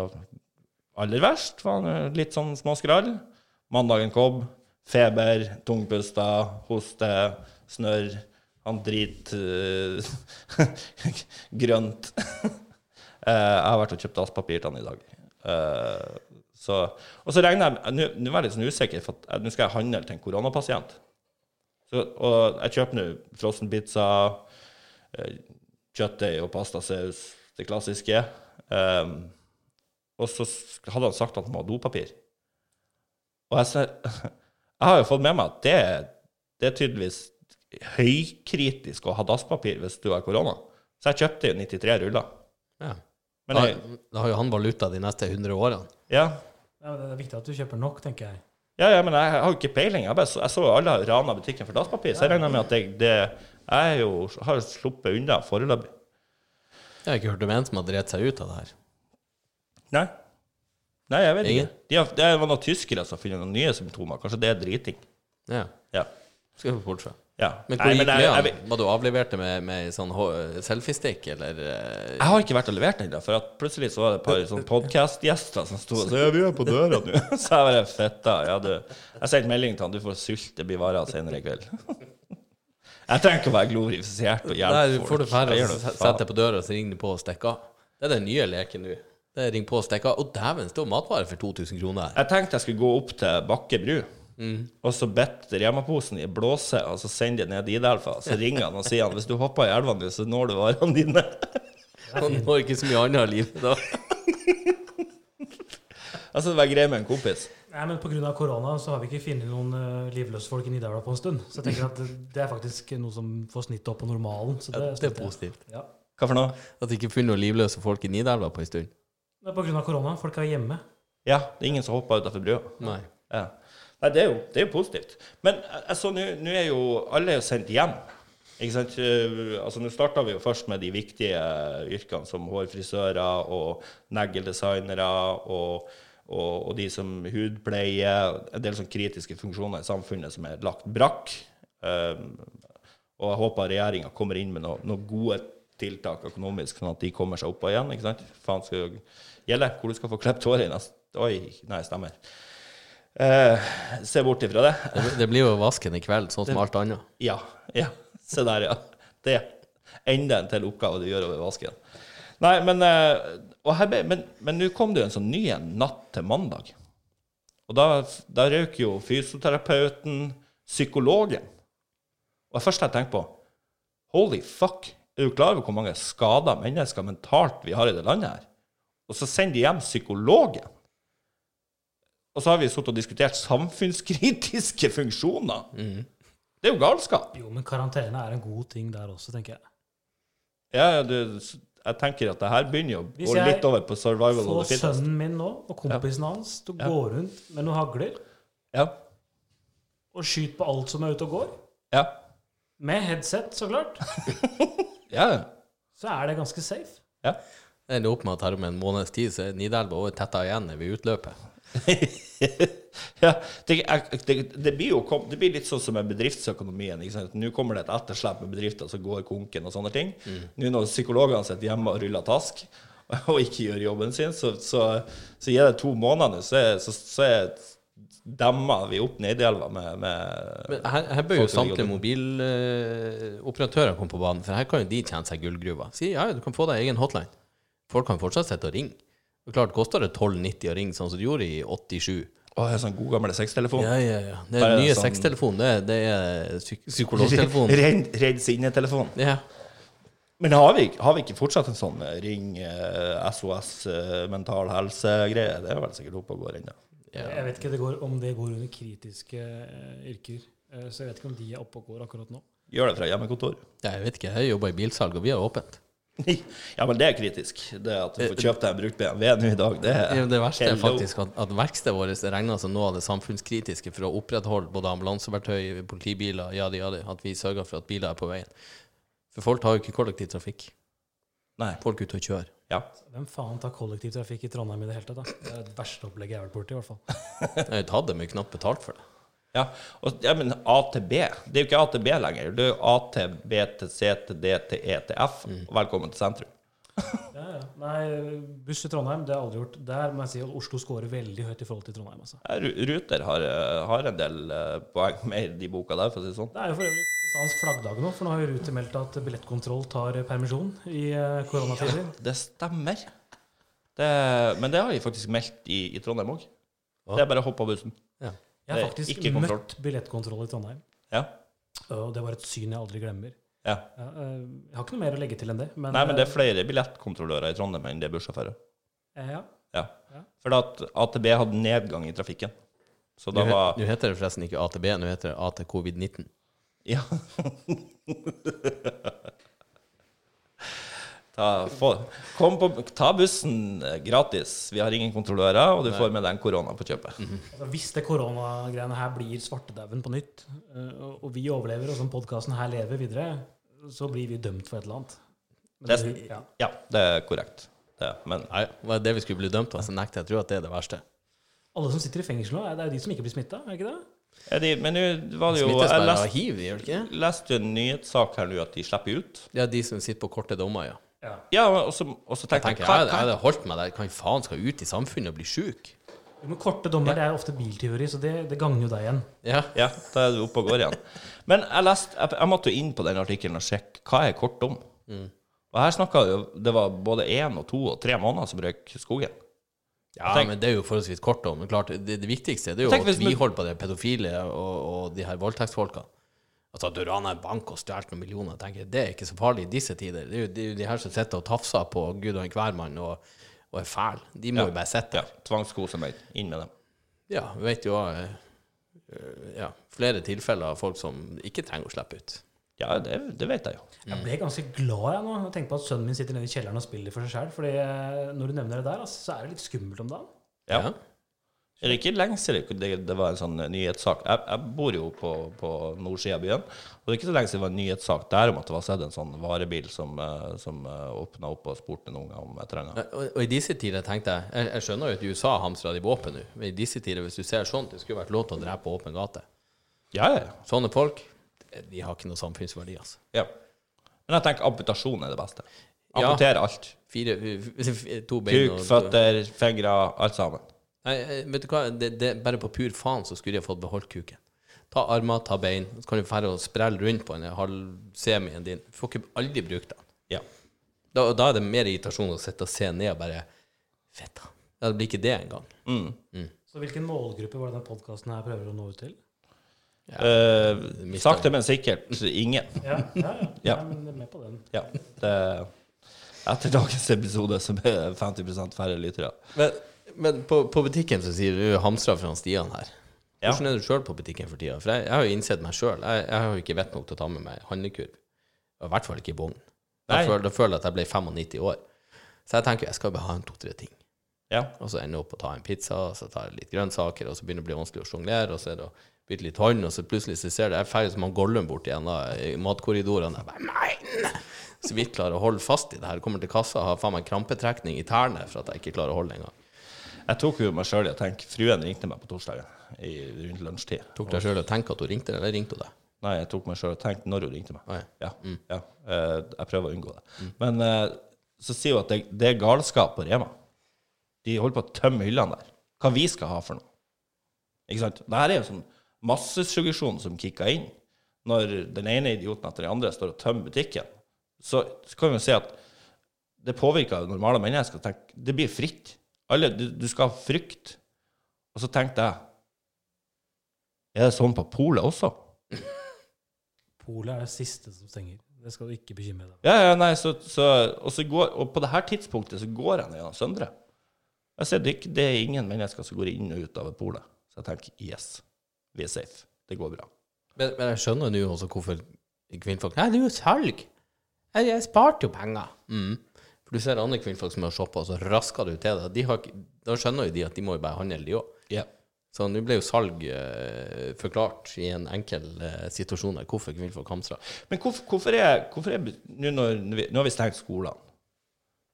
aller verst. Var han eh, litt sånn småskrall. Mandagen kom. Feber, tungpusta, hoste, snørr. Han drit eh, grønt. Eh, jeg har vært og kjøpt dasspapir til han i dag. Eh, så, og så regner jeg Nå nå var jeg litt sånn usikker, for at, eh, nå skal jeg handle til en koronapasient. Så, og jeg kjøper nå frossenpizza, eh, kjøttdeig og pastasaus, det klassiske. Ehm, og så s- hadde han sagt at han må ha dopapir. Og jeg, ser, jeg har jo fått med meg at det, det er tydeligvis høykritisk å ha dasspapir hvis du har korona. Så jeg kjøpte jo 93 ruller. Ja. Men da, jeg, da har jo han valuta de neste 100 årene. ja, Ja, men det er viktig at du kjøper nok, tenker jeg. ja, ja, men jeg har jo ikke peiling. Jeg, bare, så- jeg så alle har rana butikken for dasspapir, så jeg regner med at jeg, det, jeg er jo, har sluppet unna foreløpig. Jeg har ikke hørt om en som har drept seg ut av det her. Nei. Nei, jeg vet Ingen? ikke. De har, det var noen tyskere som har funnet noen nye symptomer. Kanskje det er driting. Ja. Ja. Skal vi bort fra. Ja. Men hvor Nei, gikk men det jeg, jeg, an? Var du avlevert det med, med sånn hå- selfiestick, eller eh, Jeg har ikke vært og levert den, da, for at plutselig så var det et par sånn podkastgjester som sto og sa ja, vi er på døra nå. Så jeg bare fitta. Ja, du. Jeg sendte melding til han du får sulte, det blir varer senere i kveld. Jeg trenger ikke å være glorifisert og hjelpe Der folk. får du færre Jeg og gjør noe se- faen. setter deg på døra, så ringer du på og stikker av. Det er den nye leken nå. Det er ring på og stikker av. Å, dæven, det står matvarer for 2000 kroner her. Jeg tenkte jeg skulle gå opp til Bakke bru, og så bitte Rema-posen i blåse, og så sende det ned i Idelfa. Så ringer han og sier han hvis du hopper i elva nå, så når du varene dine. Han har ikke så mye annet i livet da. Altså det var greit med en kompis. Nei, men Pga. korona så har vi ikke funnet noen eh, livløse folk i Nidaros på en stund. Så jeg tenker at det- det er faktisk noe som får snittet opp på normalen. Så det, Ja, det er støtter jeg. positivt. Ja. Hva for noe? At det ikke er funnet noen livløse folk i Nidelva på en stund. Det er pga. korona. Folk er hjemme. Ja, det er ingen som hopper utafor brua. Nei. Ja. Nei, det er, jo, det er jo positivt. Men eh, altså, nå nå er jo alle er jo sendt hjem. Ikke sant? Eh, Altså, Nå starta vi jo først med de viktige eh, yrkene som hårfrisører og negledesignere og, og, og de som hudpleier. En del sånn kritiske funksjoner i samfunnet som er lagt brakk. Um, og jeg håper regjeringa kommer inn med noen noe gode tiltak økonomisk, sånn at de kommer seg opp igjen. ikke sant? Faen skal jo gjelde hvor du skal få klippet håret i neste Oi, nei, stemmer. Eh, se bort ifra det. Det, det blir jo vasken i kveld, sånn som alt annet. Ja. ja, Se der, ja. Det er enden til oppgave du gjør over vasken. Nei, men eh, og her, ble- Men men nå kom det jo en sånn ny en natt til mandag. Og da, da røk jo fysioterapeuten, psykologen. Og det første jeg tenkte på Holy fuck! Er du klar over hvor mange skada mennesker mentalt vi har i det landet her? Og så sender de hjem psykologen. Og så har vi sittet og diskutert samfunnskritiske funksjoner. Mm. Det er jo galskap. Jo, men karantene er en god ting der også, tenker jeg. Ja, ja, du, jeg tenker at det her begynner jo å Hvis gå jeg litt over på survival of Få the fittest. sønnen min nå, og kompisen hans, til å gå rundt med noen hagler Ja, og skyte på alt som er ute og går, ja, med headset, så klart, ja. så er det ganske safe. ja. Det ender opp med at her om en måneds tid så er Nidelva også tetta igjen ved utløpet. ja, det, jeg- det, det, blir jo, kom- det blir litt sånn som med bedriftsøkonomien. Ikke sant? Nå kommer det et etterslep med bedrifter som går konken og sånne ting. Nå når psykologene sitter hjemme og ruller task og ikke gjør jobben sin, så, så, så gir det to måneder, så, er- så, så er- demmer vi opp Nidelva med, med Men her, her bør jo Folk som ligger samtlige mobiloperatører komme på banen, for her kan jo de tjene seg gullgruva. Si ja, ja, du kan få deg egen hotline. Folk kan fortsatt sitte og ringe. Og klart koster det 12,90 å ringe, sånn som du gjorde i 87. Å, en sånn god gammel sextelefon. Ja, ja, ja. Det Bare er nye sånn- sextelefon. Det, det er psyk psykologtelefon. Redd, redd sinnetelefon. Ja. Men har vi, har vi ikke fortsatt en sånn eh, ring eh, SOS eh, mental helse-greie? Det er vel sikkert oppe og går ennå. Jeg vet ikke det går, om det går under kritiske eh, yrker, eh, så jeg vet ikke om de er oppe og går akkurat nå. Gjør det fra hjemmekontor. Jeg vet ikke, jeg jobber i bilsalg, og vi har åpent. Ja, men det er kritisk. Det at du får kjøpt deg en brukt BMW nå i dag, det er Det verste er Hello. faktisk at, at verkstedet vårt er regna som noe av det samfunnskritiske for å opprettholde både ambulanseverktøy, politibiler, jadi, jadi, at vi sørger for at biler er på veien. For folk har jo ikke kollektivtrafikk. Nei. Folk er ute og kjører. Ja. Hvem faen tar kollektivtrafikk i Trondheim i det hele tatt? da? Det er det verste opplegget jeg har vært borti, i hvert fall. Jeg har jo tatt det, men knapt betalt for det. ja. Og, ja, men AtB Det er jo ikke AtB lenger. Det er jo AtB til C til D til E til F. Og velkommen til sentrum. Ja, ja. Nei, buss i Trondheim, det har jeg aldri gjort. Der må jeg si at Oslo scorer veldig høyt i forhold til Trondheim. Altså. Ja, Ru- Ruter har, eh, har en del eh, poeng med i de boka der, for å si det sånn. Det er jo for øvrig pakistansk flaggdag nå, for nå har jo Ruter meldt at billettkontroll tar permisjon i eh, koronatider. Det stemmer. Det, men det har de faktisk meldt i, i Trondheim òg. Det er bare å hoppe av bussen. Jeg har Det er faktisk ikke kontroll. møtt billettkontroll i Trondheim, Ja. og det var et syn jeg aldri glemmer. ja. Ja, eh, Jeg har ikke noe mer å legge til enn det. Men, Nei, men det er flere billettkontrollører i Trondheim enn det er bussjåfører. eh, ja. Ja. Ja. For at AtB hadde nedgang i trafikken. Så Nå da he- var nå heter det forresten ikke AtB, nå heter det AT-covid-19. Ja. ta, få, kom på, ta bussen eh, gratis. Vi har ingen kontrollører, og du får med deg en korona på kjøpet. altså, hvis det koronagreiene her blir svartedauden på nytt, eh, og- og vi overlever, og sånn podkasten her lever videre, så blir vi dømt for et eller annet. Men Det, det- ja. ja. det er korrekt. Det, men Nei, var det det vi skulle bli dømt av, så nekter jeg å tro at det er det verste. Alle som sitter i fengsel nå, er- det er jo de som ikke blir smitta, er det ikke det? Er de, men nå var det jo Jeg Smittespærere har leste, hiv, de, gjør det ikke det? leste jo en nyhetssak her nå at de slipper ut. Ja, de som sitter på korte dommer, ja. Ja. Ja, og så, og så tenkte jeg, Tenker jeg, hva, jeg hva? hadde holdt meg der. Kan faen skal ut i samfunnet og bli sjuk? Jo, Men korte dommer det er ofte biltyveri, så det, det gagner jo deg igjen. Ja. Ja, da er du oppe og går igjen. Men jeg, leste, jeg, jeg måtte jo inn på den artikkelen og sjekke hva er kort om. Og her snakka jo Det var både én og to og tre måneder som røyk skogen. ja, Tenk- men det er jo forholdsvis kort om. Men klart, det, det viktigste det er jo Tenk at hvis vi du- holder på de pedofile og, og de her voldtektsfolka. Altså, at du raner en bank og stjeler noen millioner, tenker jeg, det er ikke så farlig i disse tider. Det er jo, det er jo de her som sitter og tafser på gud og enhver mann og, og er fæl. De må jo bare sitte Ja, der. Tvangskose meg. Inn med dem. Ja, vi vet jo eh, eh, ja, flere tilfeller av folk som ikke trenger å slippe ut. Ja, det, det vet jeg jo. Jeg ble ganske glad jeg nå. Jeg tenker på at sønnen min sitter nede i kjelleren og spiller for seg sjøl. Fordi eh, når du nevner det der, altså, så er det litt skummelt om dagen. Ja. Er det ikke lenge siden det, det var en sånn nyhetssak Jeg, jeg bor jo på, på nordsida av byen, og det er ikke så lenge siden det var en nyhetssak der om at det var sett en sånn varebil som, eh, som åpna opp og spurte noen unger om jeg trenger Og, og i disse tider tenkte jeg Jeg, jeg skjønner jo at i USA hamstrer de våpen nå. Men i disse tider, hvis du ser sånt, det skulle vært lov til å drepe på åpen gate. Ja, ja, ja. Sånne folk, de har ikke noe samfunnsverdi, altså. ja. Men jeg tenker amputasjon er det beste. Ja. Amputere alt. Fire, f- f- to bein Kuk, og- føtter, fingre, alt sammen. Nei, eh, vet du hva, det, det, bare på pur faen så skulle de ha fått beholdt kuken. Ta armer, ta bein, så kan du fære og sprelle rundt på en halv semien din. Du får ikke aldri brukt den. Ja. Da, da er det mer irritasjon å sitte og se ned og bare Fetta. Ja, det blir ikke det engang. Mm. Så hvilken målgruppe var det den podkasten her prøver å nå ut til? Eh, mister- sakte, men sikkert ingen. Ja, ja, ja. Ja. Nei, men med på den. Ja. Det, etter dagens episode så blir det 50 færre lyttere. Men, men på, på butikken så sier du hamstra fra han Stian her. Ja. Hvordan er du sjøl på butikken for tida? For jeg, jeg har jo innsett meg sjøl. Jeg, jeg har jo ikke vett nok til å ta med meg handlekurv. Og I hvert fall ikke i vogn. Da Nei. føler, da føler jeg at jeg ble 95 år. Så jeg tenker jeg skal bare ha en to-tre ting. Ja. Og så ender jeg opp og tar en pizza, og så tar jeg litt grønnsaker, og så begynner det å bli vanskelig å sjonglere, og så er det å bytte litt hånd, og så plutselig så ser du jeg ferdig som han Gollum bort igjen da, i matkorridorene. Jeg bare, nei! Så vidt klarer å holde fast i det her. Kommer til kassa og har faen meg krampetrekning i tærne for at jeg ikke klarer å holde engang. Jeg tok jo meg sjøl i å tenke Fruen ringte meg på torsdagen i, rundt lunsjtid. Tok deg sjøl og tenkte at hun ringte, eller ringte hun deg? Nei, jeg tok meg sjøl og tenkte når hun ringte meg. Nei. Ja, ja. Eh, jeg prøver å unngå det. Men eh, så sier hun at det, det er galskap på Rema. De holder på å tømme hyllene der. Hva vi skal ha for noe. Ikke sant? Det her er jo sånn massesuggesjon som kicker inn. Når den ene idioten etter den andre står og tømmer butikken, så, så kan vi jo si at det påvirker jo normale mennesker. Tenk, det blir fritt. Alle, du, du skal ha frykt. Og så tenkte jeg Er det sånn på polet også? Polet er det siste som stenger. Det skal du ikke bekymre deg for. Ja, ja, nei, så, så, og, så går, og på det her tidspunktet så går jeg ned gjennom Søndre. Jeg ser det, ikke- det er ingen mennesker som går inn og ut av polet. Så jeg tenker yes, vi er safe. Det går bra. Men, men jeg skjønner nå også hvorfor kvinnfolk Nei, det er jo salg! Jeg, jeg sparte jo penger. Mm. For du ser andre kvinnfolk som har shoppa, og så rasker du til det. De har, ikke- da skjønner jo de at de må jo bare handle, de òg. Så nå ble jo salg eh, forklart i en enkel eh, situasjon der hvorfor kvinnfolk hamstrer. Men hvorfor, hvorfor er, hvorfor er nå, når, vi- nå har vi stengt skolene.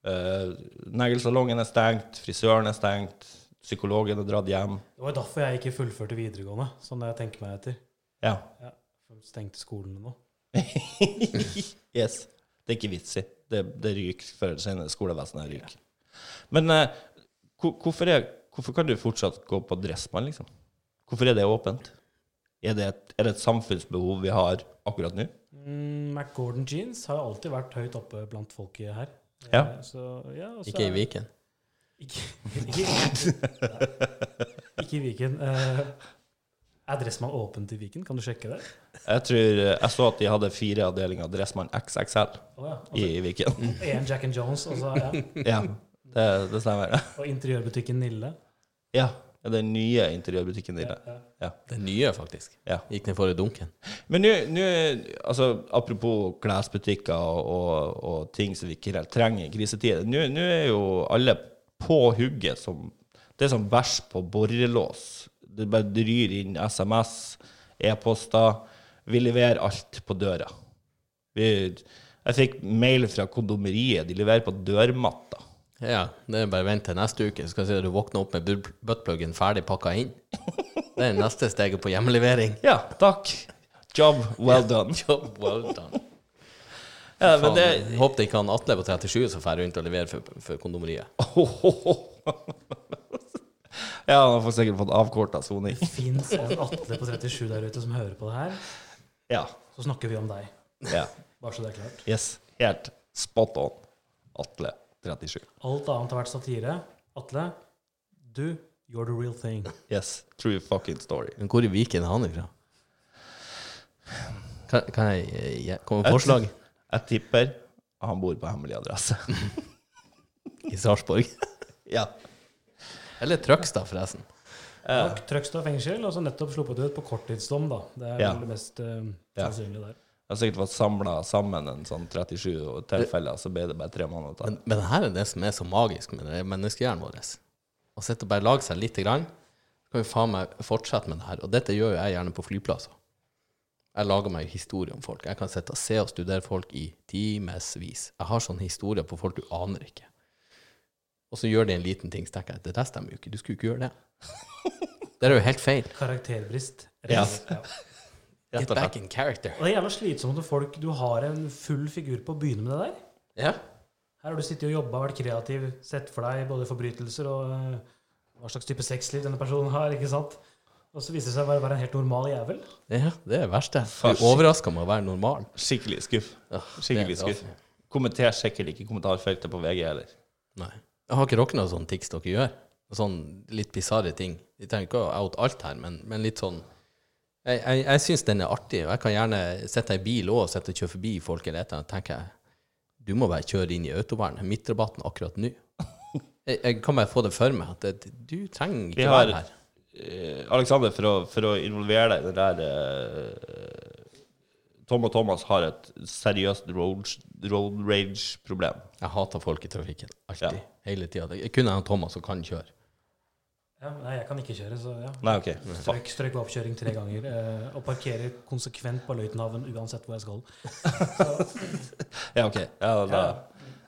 Uh, Neglesalongen er stengt, frisøren er stengt, psykologen er dratt hjem. Det var derfor jeg ikke fullførte videregående, sånn jeg tenker meg etter. Ja. Ja. for Stengte skolene nå. yes. Det er ikke vits i. Det, det ryker før eller senere. Skolevesenet ryker. Men eh, hvor, hvorfor, er, hvorfor kan du fortsatt gå på Dressmann, liksom? Hvorfor er det åpent? Er det, et, er det et samfunnsbehov vi har akkurat nå? Mm, McGordon jeans har alltid vært høyt oppe blant folket her. Ja. Eh, Så, ja, og så Ikke i er- Viken. Ikke, ikke, ikke i Viken. Eh, er Dressmann åpent i Viken? Kan du sjekke det? Jeg tror eh, jeg så at de hadde fire avdelinger av Dressmann XXL Å ja. i Viken. Og en Jack and Jones, og, så, ja. ja, det, det stemmer. og interiørbutikken Nille. ja. Den nye interiørbutikken din. Ja. Ja. Den nye, faktisk. Ja. Gikk ned for i dunken. Men nå, nå- altså, apropos klesbutikker og, og, og ting som vi ikke helt trenger i krisetider, nå nå er jo alle på hugget som Det er som bæsj på borrelås. Det bare dryr inn SMS, e-poster. Vi leverer alt på døra. Vi, jeg fikk mail fra kondomeriet. De leverer på dørmatta. Ja, det er bare vent til neste uke, så skal jeg si at du våkner opp med bud- buttpluggen ferdig pakka inn. Det er neste steget på hjemlevering. Ja, takk. Job well done. Job well done. Ja, men Faen, det jeg håper det ikke han Atle på 37 som drar rundt og leverer for, for kondomeriet. Ja, han får sikkert fått avkorta soning. Fins en Atle på 37 der ute som hører på det her, Ja. så snakker vi om deg. ja. Bare så det er klart. Yes. Helt spot on. Atle 37. Alt annet har vært satire. Atle, du, you're the real thing. Yes. True fucking story. Men hvor i Viken er han ifra? Kan, kan jeg eh, jeg- komme med forslag? Jeg tipper han bor på hemmelig adresse. I Sarpsborg? ja. Eller Trøgstad, forresten. Eh, Takk, Trøgstad fengsel, og så nettopp sluppet ut på korttidsdom, da. Det er Ja. vel det mest eh, Ja. sannsynlige der. Jeg har sikkert fått samla sammen en sånn 37 tilfeller, så ble det bare tre måneder. Men, men her er det som er så magisk med det menneskehjernen vår. Å sitte og bare lage seg lite grann, så kan vi faen meg fortsette med det her. Og dette gjør jo jeg gjerne på flyplasser. Jeg lager meg historier om folk. Jeg kan sitte og se og studere folk i timevis. Jeg har sånne historier på folk du aner ikke. Og så gjør de en liten ting, så tenker jeg det der stemmer jo ikke. Du skulle jo ikke gjøre det. Det er jo helt feil. Karakterbrist. Ja. Ja. Rett Get og back slett. in character. Og det er jævla slitsomt når folk Du har en full figur på å begynne med det der. Ja. Her har du sittet og jobba, vært kreativ, sett for deg både forbrytelser og eh, hva slags type sexliv denne personen har, ikke sant? Og så viser det seg å være- være en helt normal jævel. ja. Det er det verste. Du overrasker meg å være normal. Skikkelig skuff. Ja, Skikkelig det er skuff. Kommenter sikkert ikke kommentarfeltet på VG heller. Nei. Jeg har ikke dere noen sånne tics dere gjør? Sånn litt bisarre ting? Vi trenger ikke å out alt her, men, men litt sånn Jeg, jeg, jeg syns den er artig, og jeg kan gjerne sitte i bil òg og sitte og kjøre forbi folk eller et eller annet, tenker jeg Du må bare kjøre inn i autovern, midtrabatten akkurat nå. Jeg, jeg kan bare få det for meg at det, du trenger Vi ikke har- være her. Eh, Alexander, for å, for å involvere deg i det der eh, Tom og Thomas har et seriøst road, road rage-problem. Jeg hater folk i trafikken. Alltid. Ja. Hele tida. Det- Kun jeg og Thomas som kan kjøre. Ja, nei, jeg kan ikke kjøre, så ja. Nei, OK. Fuck. Strøk, strøk ved oppkjøring tre ganger. Eh, og parkerer konsekvent på Løitenhaven uansett hvor jeg skal. Ja, ok. Ja, da,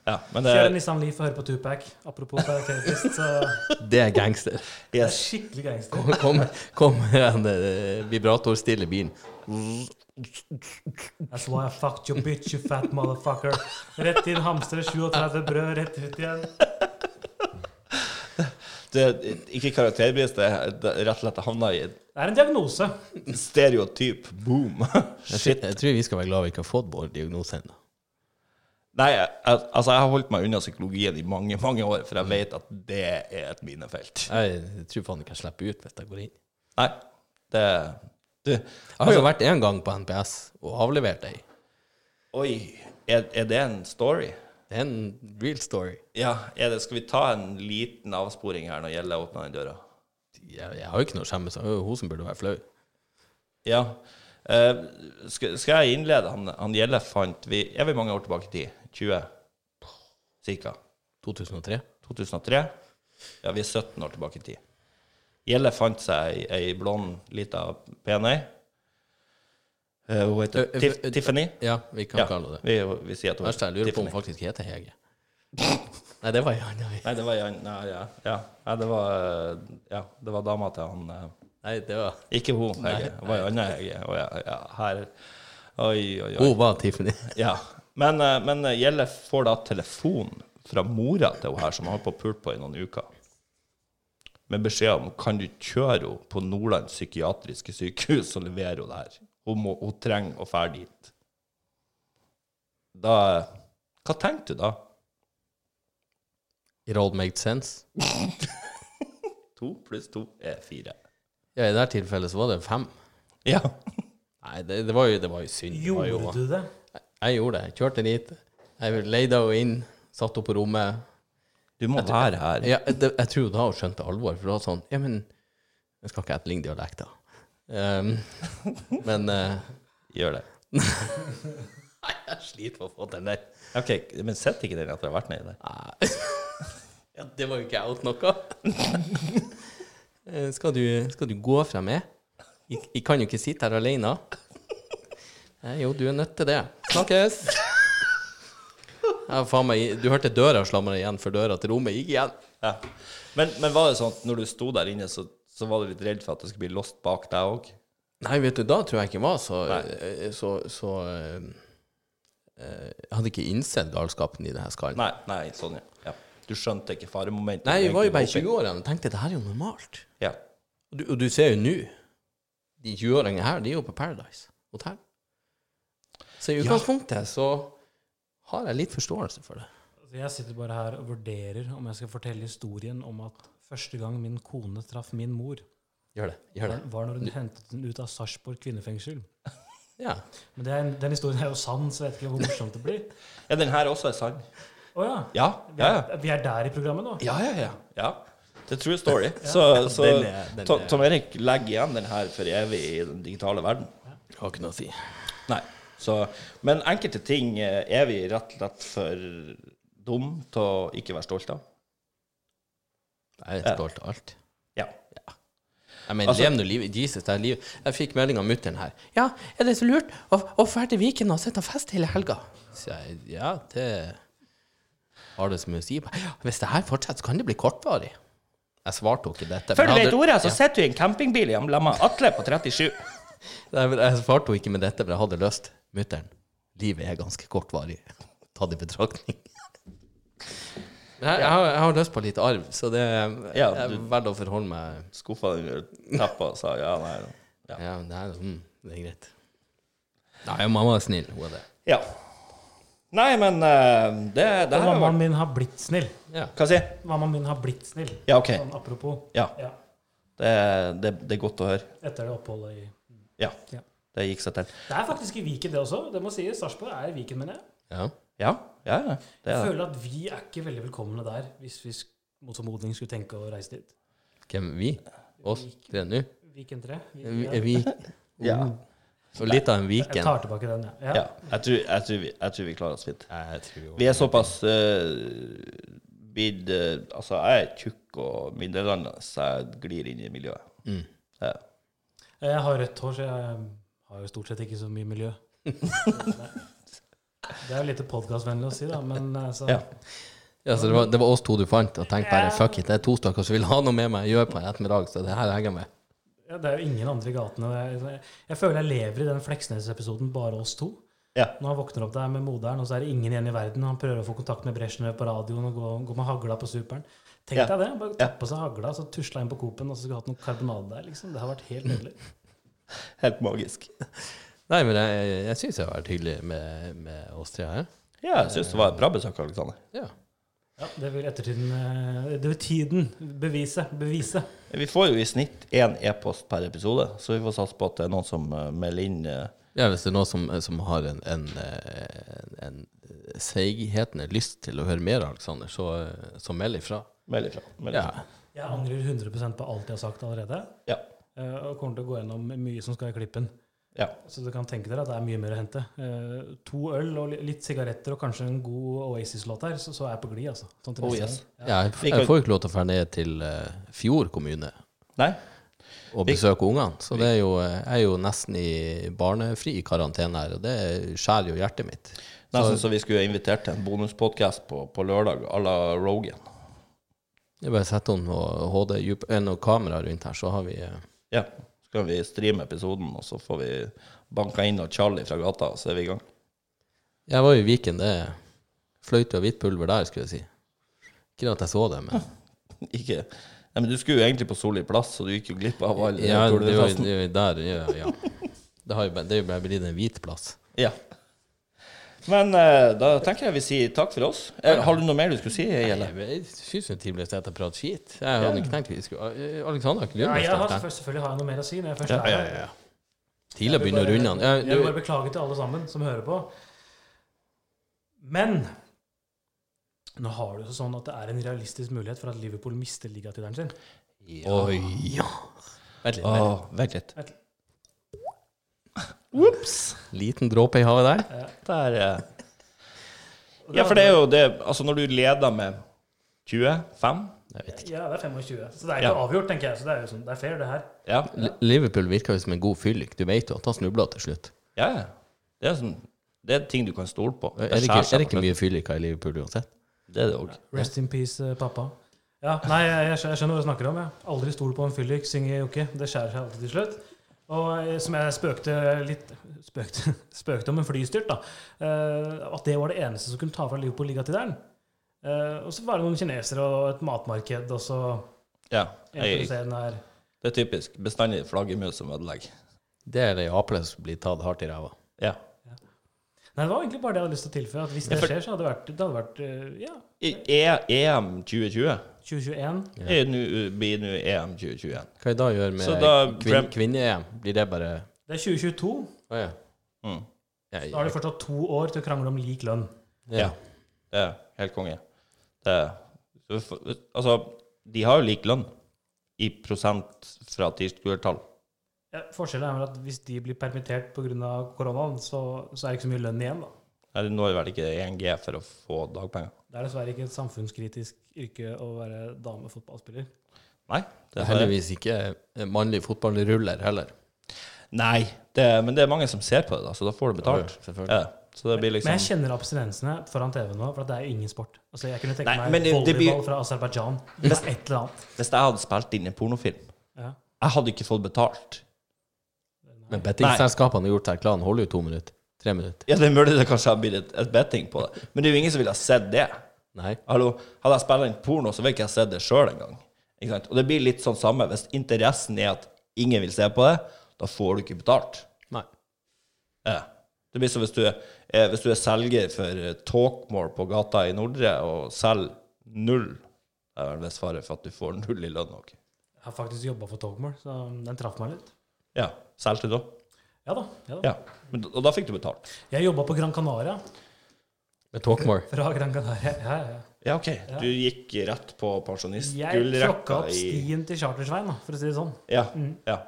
ja, men det Kjører Nissan Leaf og hører på Tupac. Apropos karakterbrist, så det Det er gangster. er yes. skikkelig gangster. Kom, kom, kom en eh, vibratorstille bilen. That's why I fucked your bitch, you fat motherfucker. Rett inn hamstre, 37 brød, rett ut igjen. det, Ikke karakterbrist, det er det er rett og slett havna i et Det er en diagnose. stereotyp boom. Jeg, Shit. tror- jeg tror vi skal være glad vi ikke har fått vår diagnose ennå. Nei, jeg, al- altså, jeg har holdt meg unna psykologien i mange, mange år, for jeg vet at det er et minefelt. Jeg tror faen ikke jeg slipper ut hvis jeg går inn. Nei, det Du, Jeg har jo vært én gang på NPS og avlevert ei. oi, er, er det en story? Det er en real story. Ja, er det, skal vi ta en liten avsporing her når det gjelder å åpne den døra? Jeg, jeg har jo ikke noe å skjemmes over. Det er jo Hun som burde være flau. Ja. Eh, skal, skal jeg innlede? Han, han Gjelle fant vi Er vi mange år tilbake i tid? 20? Cirka? 2003. 2003? Ja, vi er 17 år tilbake i tid. Gjelle fant seg ei, ei blond, lita pen ei. Eh, hun heter Ø- ø- Tiff- ø- Tiffany. Ja, vi kan Ja, kalle henne det. vi, vi sier at hun Verst er jeg heter lurer på om Tiffany. hun faktisk heter Hege. Nei, det var ei anna. Nei, det var, Jan- nei, ja, ja. Nei, det var, eh, ja, det var dama til han eh, Nei, det var Ikke hun, Hege. Det var jo anna Hege. Og ja, ja, her. Oi, oi, oi. Hun var Tiffany. Ja. Men, eh, men eh, Gjelle får da telefon fra mora til hun her, som har holdt på å pult på i noen uker, med beskjed om kan du kjøre henne på Nordland psykiatriske sykehus og levere henne der. Hun, må, hun trenger å fære dit. Da Hva tenkte du da? It all made sense. To pluss to er fire. Ja, i det her tilfellet så var det fem. Ja. Nei, det, det, var, jo, det var jo synd. Det var jo, Gjorde du det? Jeg gjorde det. Jeg kjørte dit. Jeg leide henne inn, satt henne på rommet. Du må være her. Ja, det, jeg tror da hun skjønte alvor, for da var det sånn Ja, men jeg skal ikke etterligne dialekter. Um, men eh, Gjør det. Nei, jeg sliter med å få den der. OK, men sitter ikke den at jeg har vært nedi der? Nei. ja, det var jo ikke out noe. Eh, skal, du, skal du gå fra meg? Jeg, jeg kan jo ikke sitte her alene. Nei, jo, du er nødt til det. Snakkes! Ja, faen meg, du hørte døra slamre igjen før døra til rommet gikk igjen. Ja. Men, men var det sånn at når du sto der inne, så, så var du litt redd for at det skulle bli lost bak deg òg. Nei, vet du, da tror jeg ikke jeg var så, Nei. så, så eh, eh, Jeg hadde ikke innsett galskapen i det her skallen. Nei, nei, sånn, ja. ja. Du skjønte ikke faremomentet? Nei, vi var jo bare i egentlig 20-årene og tenkte det her er jo normalt. Ja. Og du, og du ser jo nå De 20-åringene her, de er jo på Paradise Hotel. Så i utgangspunktet så har jeg litt forståelse for det. Altså, Jeg sitter bare her og vurderer om jeg skal fortelle historien om at første gang min kone traff min mor, Gjør det. Gjør det. var- var når hun hentet den ut av Sarpsborg kvinnefengsel. Ja. Men det er, en- den historien er jo sann, så jeg vet ikke hvor morsomt det blir. ja, den her også er sann. Å ja. Ja, Vi ja, ja. er, vi er der i programmet nå. Ja, ja, ja. ja. The true story. Så, så Den er- den Tom, er- Tom Erik legger igjen den her for evig i den digitale verden. Har ikke noe å si. Nei. Så, men enkelte ting eh, er vi rett og slett for dum til å ikke være stolt av. Jeg er stolt av alt. Ja. Jeg mener, Altså- lev nå livet. Jesus, det er livet. Jeg fikk melding av mutter'n her. Ja, er det så lurt å å dra til Viken og sitte og feste hele helga? Så jeg, ja, det har det så mye å si. Ja, Hvis det her fortsetter, så kan det bli kortvarig. Jeg svarte jo ikke dette. Før du men jeg vet hadde- ordet, så Ja. sitter du i en campingbil i Amlemma. Atle på 37. Nei, men jeg svarte jo ikke med dette, men jeg hadde lyst. Mutter'n, livet er ganske kortvarig. Ta det i betraktning. Men jeg, jeg, har, jeg har lyst på litt arv, så det Ja, jeg du- velger å forholde meg Skuffa den under teppa og sa ja, nei. Ja. Ja, det er, mm, det er greit. Nei, mamma er snill. Hun er det. ja. Nei, men eh, det, det her Og har mammaen vært min har blitt snill. Ja. Hva si? Mammaen min har blitt snill. Ja, OK. Sånn apropos. Ja. Ja, Det, det, det er godt å høre. etter det oppholdet i Ja. Ja. Det gikk seg til. Det er faktisk i Viken, det også. Det må sies. Sarpsborg er i Viken, mener jeg. Ja. Ja, ja, ja. Det Jeg er det. føler at vi er ikke veldig velkomne der, hvis vi sk- mot formodning skulle tenke å reise dit. Hvem vi? Oss tre nå? Viken 3. Vi, Viken, vi, Ja. og litt av en Jeg Viken. tar tilbake den, ja. ja. Ja, jeg tror, jeg, tror vi, jeg tror vi klarer oss fint. Jeg tror jo Vi er såpass uh, bidd eh, Altså, jeg er tjukk og middelaldrende, så jeg glir inn i miljøet. Ja. Eh, Jeg har rødt hår, så jeg har jo stort sett ikke så mye miljø. Det er jo lite podkastvennlig å si, da, men eh, så Ja. ja, så det, var, det var oss to du fant, og tenkte bare fuck it, det er to stykker som vil ha noe med meg å gjøre på en ettermiddag, så det her henger jeg med. ja, Det er jo ingen andre i gatene. Jeg, jeg føler jeg lever i den Fleksnes-episoden, bare oss to. Ja. Når han våkner opp der med moderen, og så er det ingen igjen i verden. Han prøver å få kontakt med Brezjnev på radioen og går gå med hagla på superen. Tenk Ja. deg det. Bare ta på seg hagla, så tusla inn på Coop-en, og så skulle hatt noe karbonade der. liksom. Det har vært helt nydelig. Helt magisk. Nei, men jeg, jeg syns jeg har vært hyggelig med, med oss tre her. Ja, jeg syns det var et bra besøk, Alexander. Ja. Ja, det vil ettertiden eh, Det vil tiden bevise. Bevise. Vi får jo i snitt én e-post per episode, så vi får satse på at det er noen som eh, melder inn eh, Ja, hvis det er noen som, som har en, en, eh, en, en seighetende lyst til å høre mer av Aleksander, så, eh, så meld ifra. Meld ifra. Meld Ja. ifra. Jeg angrer 100 på alt jeg har sagt allerede, Ja. eh, og kommer til å gå gjennom mye som skal i klippen. Ja. Så du kan tenke dere at det er mye mer å hente. Eh, to øl og li- litt sigaretter og kanskje en god Oasis-låt her, så, så er jeg på glid, altså. Sånn til Oh, neste yes. gang. Ja, jeg, Vi f- kan- jeg får jo ikke lov til å dra ned til eh, Fjord kommune Nei? og besøke ungene, så det er jo, eh, jeg er jo nesten i barnefri karantene her, og det skjærer jo hjertet mitt. Nesten så sånn vi skulle invitert til en bonuspodkast på, på lørdag à la Rogan. Det er bare å sette noen HD, djup- eh, noen kamera rundt her, så har vi eh, Ja. Så kan vi streame episoden, og så får vi banka inn og Charlie fra gata, og så er vi i gang. Jeg var jo i Viken, det er fløyte og hvitt pulver der, skulle jeg si. Ikke at jeg så det, men Ikke Nei, men Du skulle jo egentlig på Solli plass, så du gikk jo glipp av all Ja, det er jo Tordenfesten. det er jo der ja, ja. Det, har jo, bare- det er jo bare blitt en hvit plass. Ja. Men eh, da tenker jeg vi sier takk for oss. Eh, har du noe mer du skulle si? Eller? Jeg syns det er trivelig å se at jeg prater skit. Jeg hadde ikke tenkt vi skulle Aleksander har ikke Ja, jeg lyst til har, det. selvfølgelig- selvfølgelig har jeg noe mer å si når jeg først er her. Tidlig begynner å runde han. Ja, Jeg vil bare du- beklage til alle sammen som hører på. Men nå har du det sånn at det er en realistisk mulighet for at Liverpool mister ligatittelen sin. Oi, ja. Vent litt. Å, vent. vent litt. Vent litt. Ops! Liten dråpe i havet der. Der eh. Ja, for det er jo det Altså, når du leder med 25 Jeg vet ikke. Ja, det er 25. Så det er Ja. jo avgjort, tenker jeg. Så det er jo sånn, det er fair, det her. Ja, Li- Liverpool virker jo som en god fyllik. Du vet jo at han snubler til slutt. ja. ja. Det er sånn Det er ting du kan stole på. Er det skjærer ikke, er seg det ikke på slutten. mye fylliker i Liverpool uansett? Det er det òg. Rest in peace, eh, pappa. Ja, nei, jeg, jeg skjø- jeg skjønner hva du snakker om. Jeg. Aldri stol på en fyllik, synger Jokke. Det skjærer seg alltid til slutt. Og eh, som jeg spøkte litt Spøkte, spøkte om en flystyrt, da. eh, At det var det eneste som kunne ta fra Liverpool ligatittelen. Eh, Og så var det noen kinesere og et matmarked, og så Ja, jeg, Introduseren er det er typisk. Bestandig flaggermus som ødelegger. Det er ei aple som blir tatt hardt i ræva. Ja. Nei, det var egentlig bare det jeg hadde lyst til å tilføye. At hvis det Ja, for- skjer, så hadde det vært, det hadde vært eh, ja, I E- EM 2020 2021. er nu, E blir nå EM 2021. Hva jeg da gjør med Så da- kvin kvinne-EM? Blir det bare Det er 2022. Å ja. Mm. Jeg, Da har de fortsatt to år til å krangle om lik lønn. ja. Det er helt konge. Det er, så f- altså, de har jo lik lønn i prosent fra tirsdagskvartal. Ja, forskjellen er vel at hvis de blir permittert pga. koronaen, så, så er det ikke så mye lønn igjen. da. Nei, Det når vel ikke 1G for å få dagpenger. Det er dessverre ikke et samfunnskritisk yrke å være damefotballspiller. Nei, Det det er er heldigvis ikke en mannlig fotballruller heller. Nei det, men det er mange som ser på det, da, så da får du betalt. Ja, selvfølgelig. Ja, så det blir Men jeg liksom kjenner abstinensene foran TV nå, for at det er jo ingen sport. Altså, Jeg kunne tenke Nei, men meg det- det volleyball blir- fra Aserbajdsjan. Det er et eller annet. Hvis jeg hadde spilt inn en pornofilm, Ja. jeg hadde ikke fått betalt. Men bettingselskapene har gjort seg klare. Holder jo to minutter. Tre minutter. Ja, det er mulig det kanskje har blitt et, et betting på det, men det er jo ingen som ville ha sett det. Nei. Hallo, hadde jeg spilt inn porno, så ville ikke jeg sett det sjøl engang. Ikke sant? Og det blir litt sånn samme. Hvis interessen er at ingen vil se på det, da får du ikke betalt. Nei. Ja. Det blir som hvis du, er- eh, hvis du er selger for eh, Talkmore på gata i Nordre og selger null. Det er vel en viss fare for at du får null i lønn òg. Jeg har faktisk jobba for Talkmore, så den traff meg litt. Ja. Solgte du da? Ja da. ja da. Ja. Men, da- og da fikk du betalt? Jeg jobba på Gran Canaria. Med Talkmore. Fra Gran Canaria. Ja, ja, ja. Ja, OK. Du gikk rett på Jeg tråkka pensjonistgullrekka opp i stien til Chartersveien, da, for å si det sånn. ja, ja.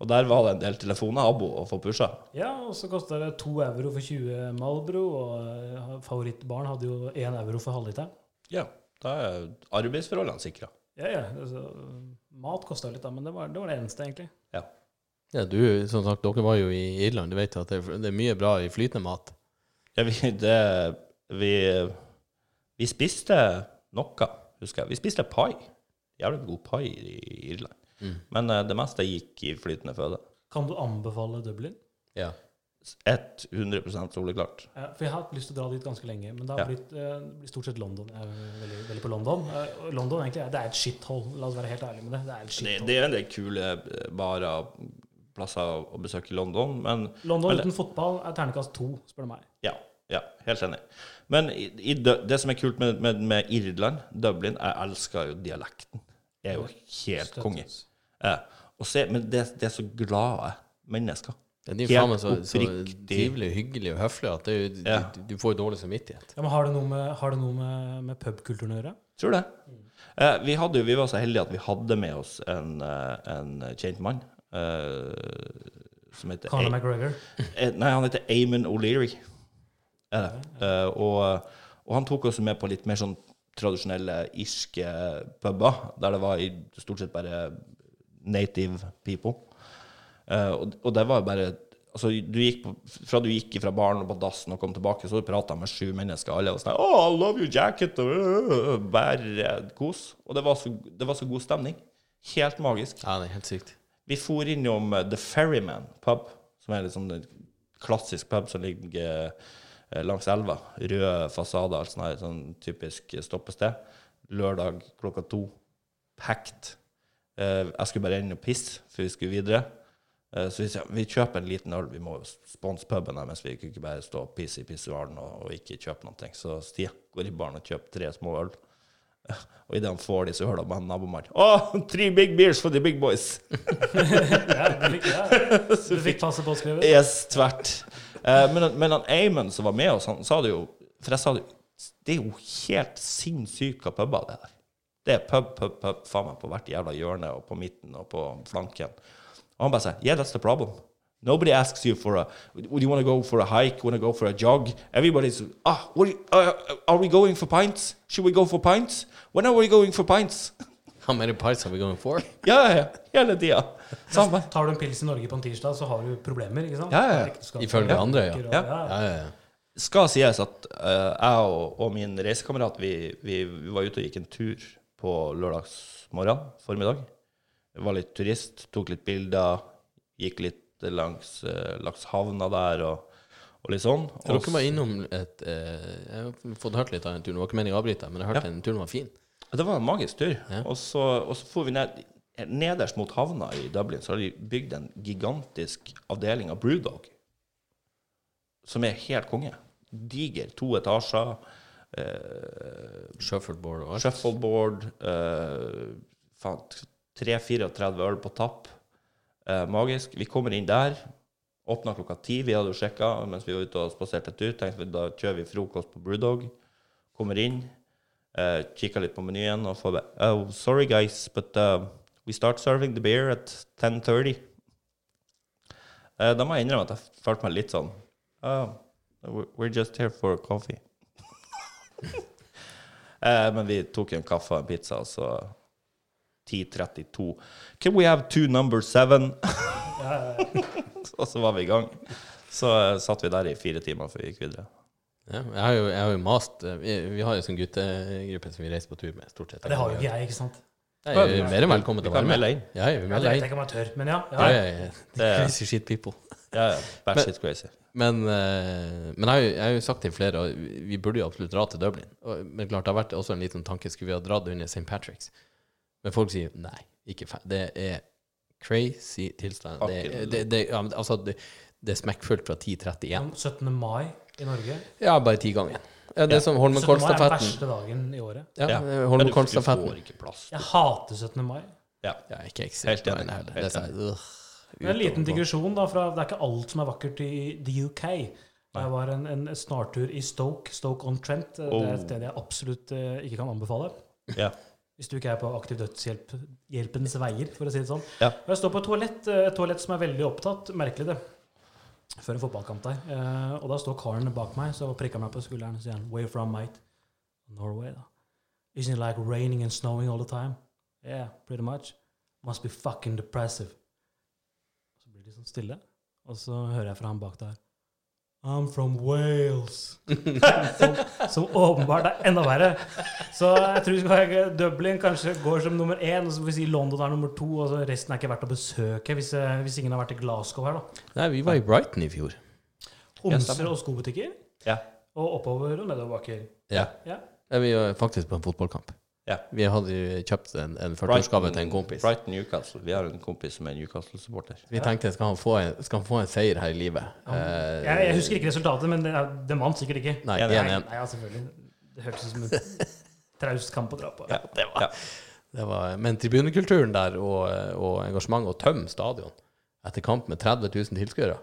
Og der var det en del telefoner, abo, å få pusha. Ja, og så kosta det to euro for 20 Malbro, og eh, favorittbarn hadde jo én euro for halvliteren. Ja. Da er arbeidsforholdene sikra. Ja, ja. Altså, mat kosta litt, da, men det var, det var det eneste, egentlig. Ja. Ja, du, som sagt, dere var jo i Irland. Du vet at det er- det er mye bra i flytende mat. ja vi, det, vi, vi spiste noe, husker jeg. Vi spiste pai. Jævlig god pai i Irland. Men eh, det meste gikk i flytende føde. Kan du anbefale Dublin? Ja. 100 soleklart. Ja, for jeg har hatt lyst til å dra dit ganske lenge, men det har Ja. blitt, eh, det blir stort sett London. Jeg er veldig, veldig på London. Eh, og London egentlig, er- det er et shithole. La oss være helt ærlige med det. Det er et Det, shithole. det er en del kule eh, barer plasser å besøke i London, men London men- uten fotball er ternekast to, spør du meg. Ja, ja helt enig. Men i, i Dø- det som er kult med, med, med Irland, Dublin Jeg elsker jo dialekten. Jeg er jo helt konge. Ja. Og se, men det, det er så glade mennesker. Det er Helt jo faen meg så, så oppriktig. trivelig, hyggelig og høflig at det, er jo- Ja. du, du får jo dårlig samvittighet. Ja, men har det noe med, har det noe med, med pubkulturen å gjøre? Tror det. Eh, vi, hadde, jo- vi var så heldige at vi hadde med oss en, eh, en kjent mann eh, som heter Conor Ei- McGregor. Eh, Nei, han heter Eamon O'Leary. Er det. Eh, og, og han tok oss med på litt mer sånn tradisjonelle irske eh, puber, der det var i stort sett bare native people. Eh, og, og det var jo bare Altså, du gikk på, fra du gikk fra baren og på dassen og kom tilbake, så prata med sju mennesker, alle var sånn Oh, I love your jacket! og, øh, øh, øh, Bare kos. Og det var, så, det var så god stemning. Helt magisk. Ja, det er helt sykt. Vi for innom eh, The Ferryman pub, som er liksom en klassisk pub som ligger eh, langs elva. Røde fasader, alt sånn her, sånn typisk stoppested. Lørdag klokka to. Packed. Eh, Jeg skulle bare inn og pisse før vi skulle videre. Eh, Så vi, sa, vi kjøper en liten øl. Vi må jo sponse puben her, mens vi kunne ikke bare stå og pisse i pissoaren og, og ikke kjøpe noe. Så Stia går i baren og kjøper tre små øl. Og idet han får de, så hører han nabomannen Åh, three big beers for the big boys! Ja, du fikk, ja. Du fikk passe påskrevet. Yes, tvert. Eh, men, men han Eamon som var med oss, han sa det jo For jeg sa det jo Det er jo helt sinnssyke puber, det der. Det er pub, pub, pub faen meg på hvert jævla hjørne og på midten og på flanken. Og han bare sier Yeah, that's the problem. Nobody asks you for a Would you want to go for a hike? Want to go for a jog? Everybody's Ah, what are, you, uh, are we going for pints? Should we go for pints? When are we going for pints? How many pies are we going for? ja, ja, ja. Hele tida. Sammen. Tar du en pils i Norge på en tirsdag, så har du problemer, ikke sant? Ja, ja, ja. Ikke skatt- Ifølge andre, ja. Ja, ja. Ja, ja, ja. skal sies at eh, jeg og, og min reisekamerat vi, vi, vi var ute og gikk en tur på lørdagsmorgen, formiddag. Jeg var litt turist, tok litt bilder, gikk litt langs, eh, langs havna der og, og litt sånn. Ja, Og Dere var innom et eh, Jeg har fått hørt litt av den turen. Det var ikke meningen å avbryte, men jeg hørte den turen var fin. Ja, Det var en magisk tur. Ja. Og, så, og så for vi ned Nederst mot havna i Dublin så har de bygd en gigantisk avdeling av Brewdog, som er helt konge. Diger. To etasjer. eh, Shuffleboard og alt. Shuffleboard. Eh, faen, 3-34 øl på tapp. Eh, magisk. Vi kommer inn der. Åpna klokka ti. Vi hadde jo sjekka mens vi var ute og spaserte tur. Tenkte vi da kjører vi frokost på Brewdog. Kommer inn. Uh, Kikka litt på menyen og får bare Oh, sorry guys, but uh, we start serving the beer at 10.30. Eh, da må jeg innrømme at jeg følte meg litt sånn «Oh, we're- We're just here for coffee. Eh, men vi tok en kaffe og en pizza, og så 10.32. Can we have two number seven? og så var vi i gang. Så eh, satt vi der i fire timer før vi gikk videre. Ja, jeg, har jo, jeg har jo mast eh, Vi, vi har jo sånn guttegruppe som vi reiser på tur med, stort sett. Det har jo ikke jeg, ikke sant? Jeg er jo mer enn velkommen Vi til å kan være med. melde inn. Ja, jeg vil Ja, det melde vet inn. jeg ikke om jeg tør, men ja. Ja, ja. ja, ja. Det er- Crazy shit people. Ja, ja. Batshit crazy. Men, eh, men jeg, har jo- jeg har jo sagt til flere og vi- vi burde jo absolutt dra til Dublin. Og, men klart, det har vært også en liten tanke skulle vi ha dratt under St. Patrick's. Men folk sier nei, ikke fan. Det er crazy tilstand. Det, er- det, det, ja, men altså, det, det er smekkfullt fra 10.31. Om 17. Sånn mai i Norge. Ja, bare ti ganger. Ja, det er som 17. mai er den Holmenkollstafetten. verste dagen i året. Ja, Ja. eh, Men du, du Holmenkollstafetten. får ikke plass. Jeg hater 17. mai. Ja. Ja, ikke ekstremt Helt enig. heller. Det er Helt sånn, øh, Men En liten utover- digresjon, da. Fra, det er ikke alt som er vakkert i the UK. Det var en, en snartur i Stoke, Stoke on Trent. Det er et Oh. sted jeg absolutt eh, ikke kan anbefale. Ja. Hvis du ikke er på aktiv dødshjelpens veier, for å si det sånn. Ja. Og Jeg står på et toalett, eh, et toalett som er veldig opptatt. Merkelig det. Før en fotballkamp der. Eh, Og da står karen bak meg, så prikker han meg på skulderen og sier han, 'Where from, mate?' Norway, da. Isn't it like raining and snowing all the time? Yeah, pretty much. Must be fucking depressive. Så blir de sånn stille, og så hører jeg fra han bak der. I'm from Wales. som, som åpenbart er enda verre. Så jeg tror vi skal være Dublin kanskje går som nummer én, og så får vi si London er nummer to, og så resten er ikke verdt å besøke hvis, eh, hvis ingen har vært i Glasgow her, da. Nei, vi var i Brighton i fjor. Homser og skobutikker, Ja. og oppover og nedoverbakker. Ja. Ja. Ja, Vi var faktisk på en fotballkamp. Ja. Vi hadde jo kjøpt en, en 40-årsgave til en kompis. Brighton Newcastle. Vi har en kompis som er Newcastle-supporter. Vi tenkte skal han, få en, skal han få en seier her i livet? Eh, Jeg, jeg husker ikke resultatet, men det, er- den vant sikkert ikke. Nei, Ja, det er- 1-1. Nei, ja, selvfølgelig. Det hørtes ut som en traust kamp å dra på. det var ja. Det var- Men tribunekulturen der og, og engasjementet, og tømme stadion etter kamp med 30 000 tilskuere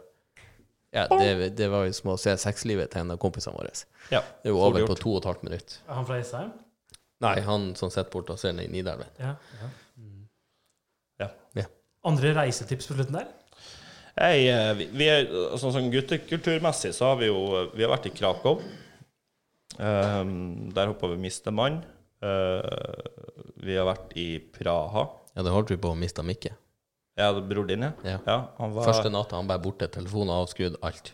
ja, det, det var jo som å se sexlivet til en av kompisene våre. ja. Det var over på to og et halvt minutt. Han fra Isheim? Nei, han som sitter borte og ser ned i Nidelven. Ja. Ja. Andre reisetips på slutten der? Nei, eh, vi, vi er, sånn som guttekulturmessig så har vi jo eh, Vi har vært i Krakow. Ehm, der hoppa vi Mistemann. Eh, vi har vært i Praha. Ja, det holdt vi på å miste Mikke. Ja, det er bror din, ja? Ja. han var Første natta han bare borte, telefonen avskrudd, alt.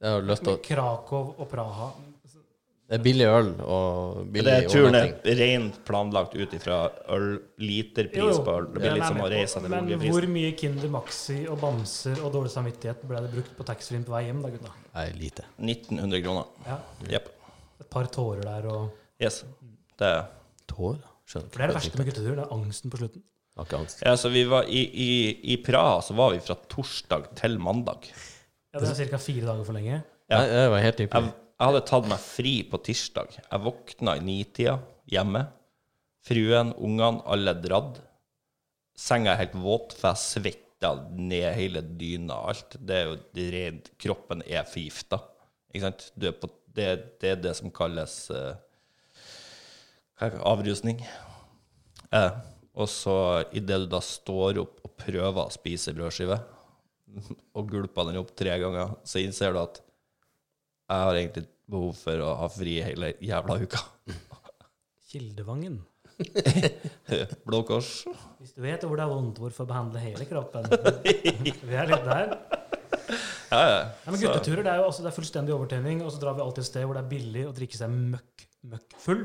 Jeg har lyst til å Med Krakow og Praha. Det er billig øl og Men billig det er turen overnatting. er rent planlagt ut ifra øl, Jo, literpris jo. på øl. Det blir Den litt er som å med på. reise til Men oljeprisen. hvor mye Kinder Maxi og bamser og dårlig samvittighet ble det brukt på taxfree på vei hjem, da, gutta? Nei, lite. 1900 kroner. Ja. Jepp. Et par tårer der og Yes. Det er Tårer? Skjønner For det er det verste med guttetur, det er angsten på slutten. Har ikke angst. Ja, så vi var i, i, I Praha så var vi fra torsdag til mandag. Ja, det er ca. fire dager for lenge. Nei, det var helt Jeg, ypperlig. jeg hadde tatt meg fri på tirsdag. Jeg våkna i nitida hjemme. Fruen, ungene, alle dradd. Senga er helt våt, for jeg svetta ned hele dyna og alt. Det er jo det rent Kroppen er forgifta. Ikke sant? Du er på, det, det er det som kalles eh, hva er det? avrusning. Eh, og så idet du da står opp og prøver å spise brødskive, og gulper den opp tre ganger, så innser du at jeg har egentlig behov for å ha fri hele jævla uka. Kildevangen. Blå Kors. Hvis du vet hvor det er vondt, hvorfor behandle hele kroppen? Vi er litt der. Ja, ja. Nei, men gutteturer, det er jo altså, det er fullstendig overtenning, og så drar vi alltid et sted hvor det er billig å drikke seg møkk, møkk full.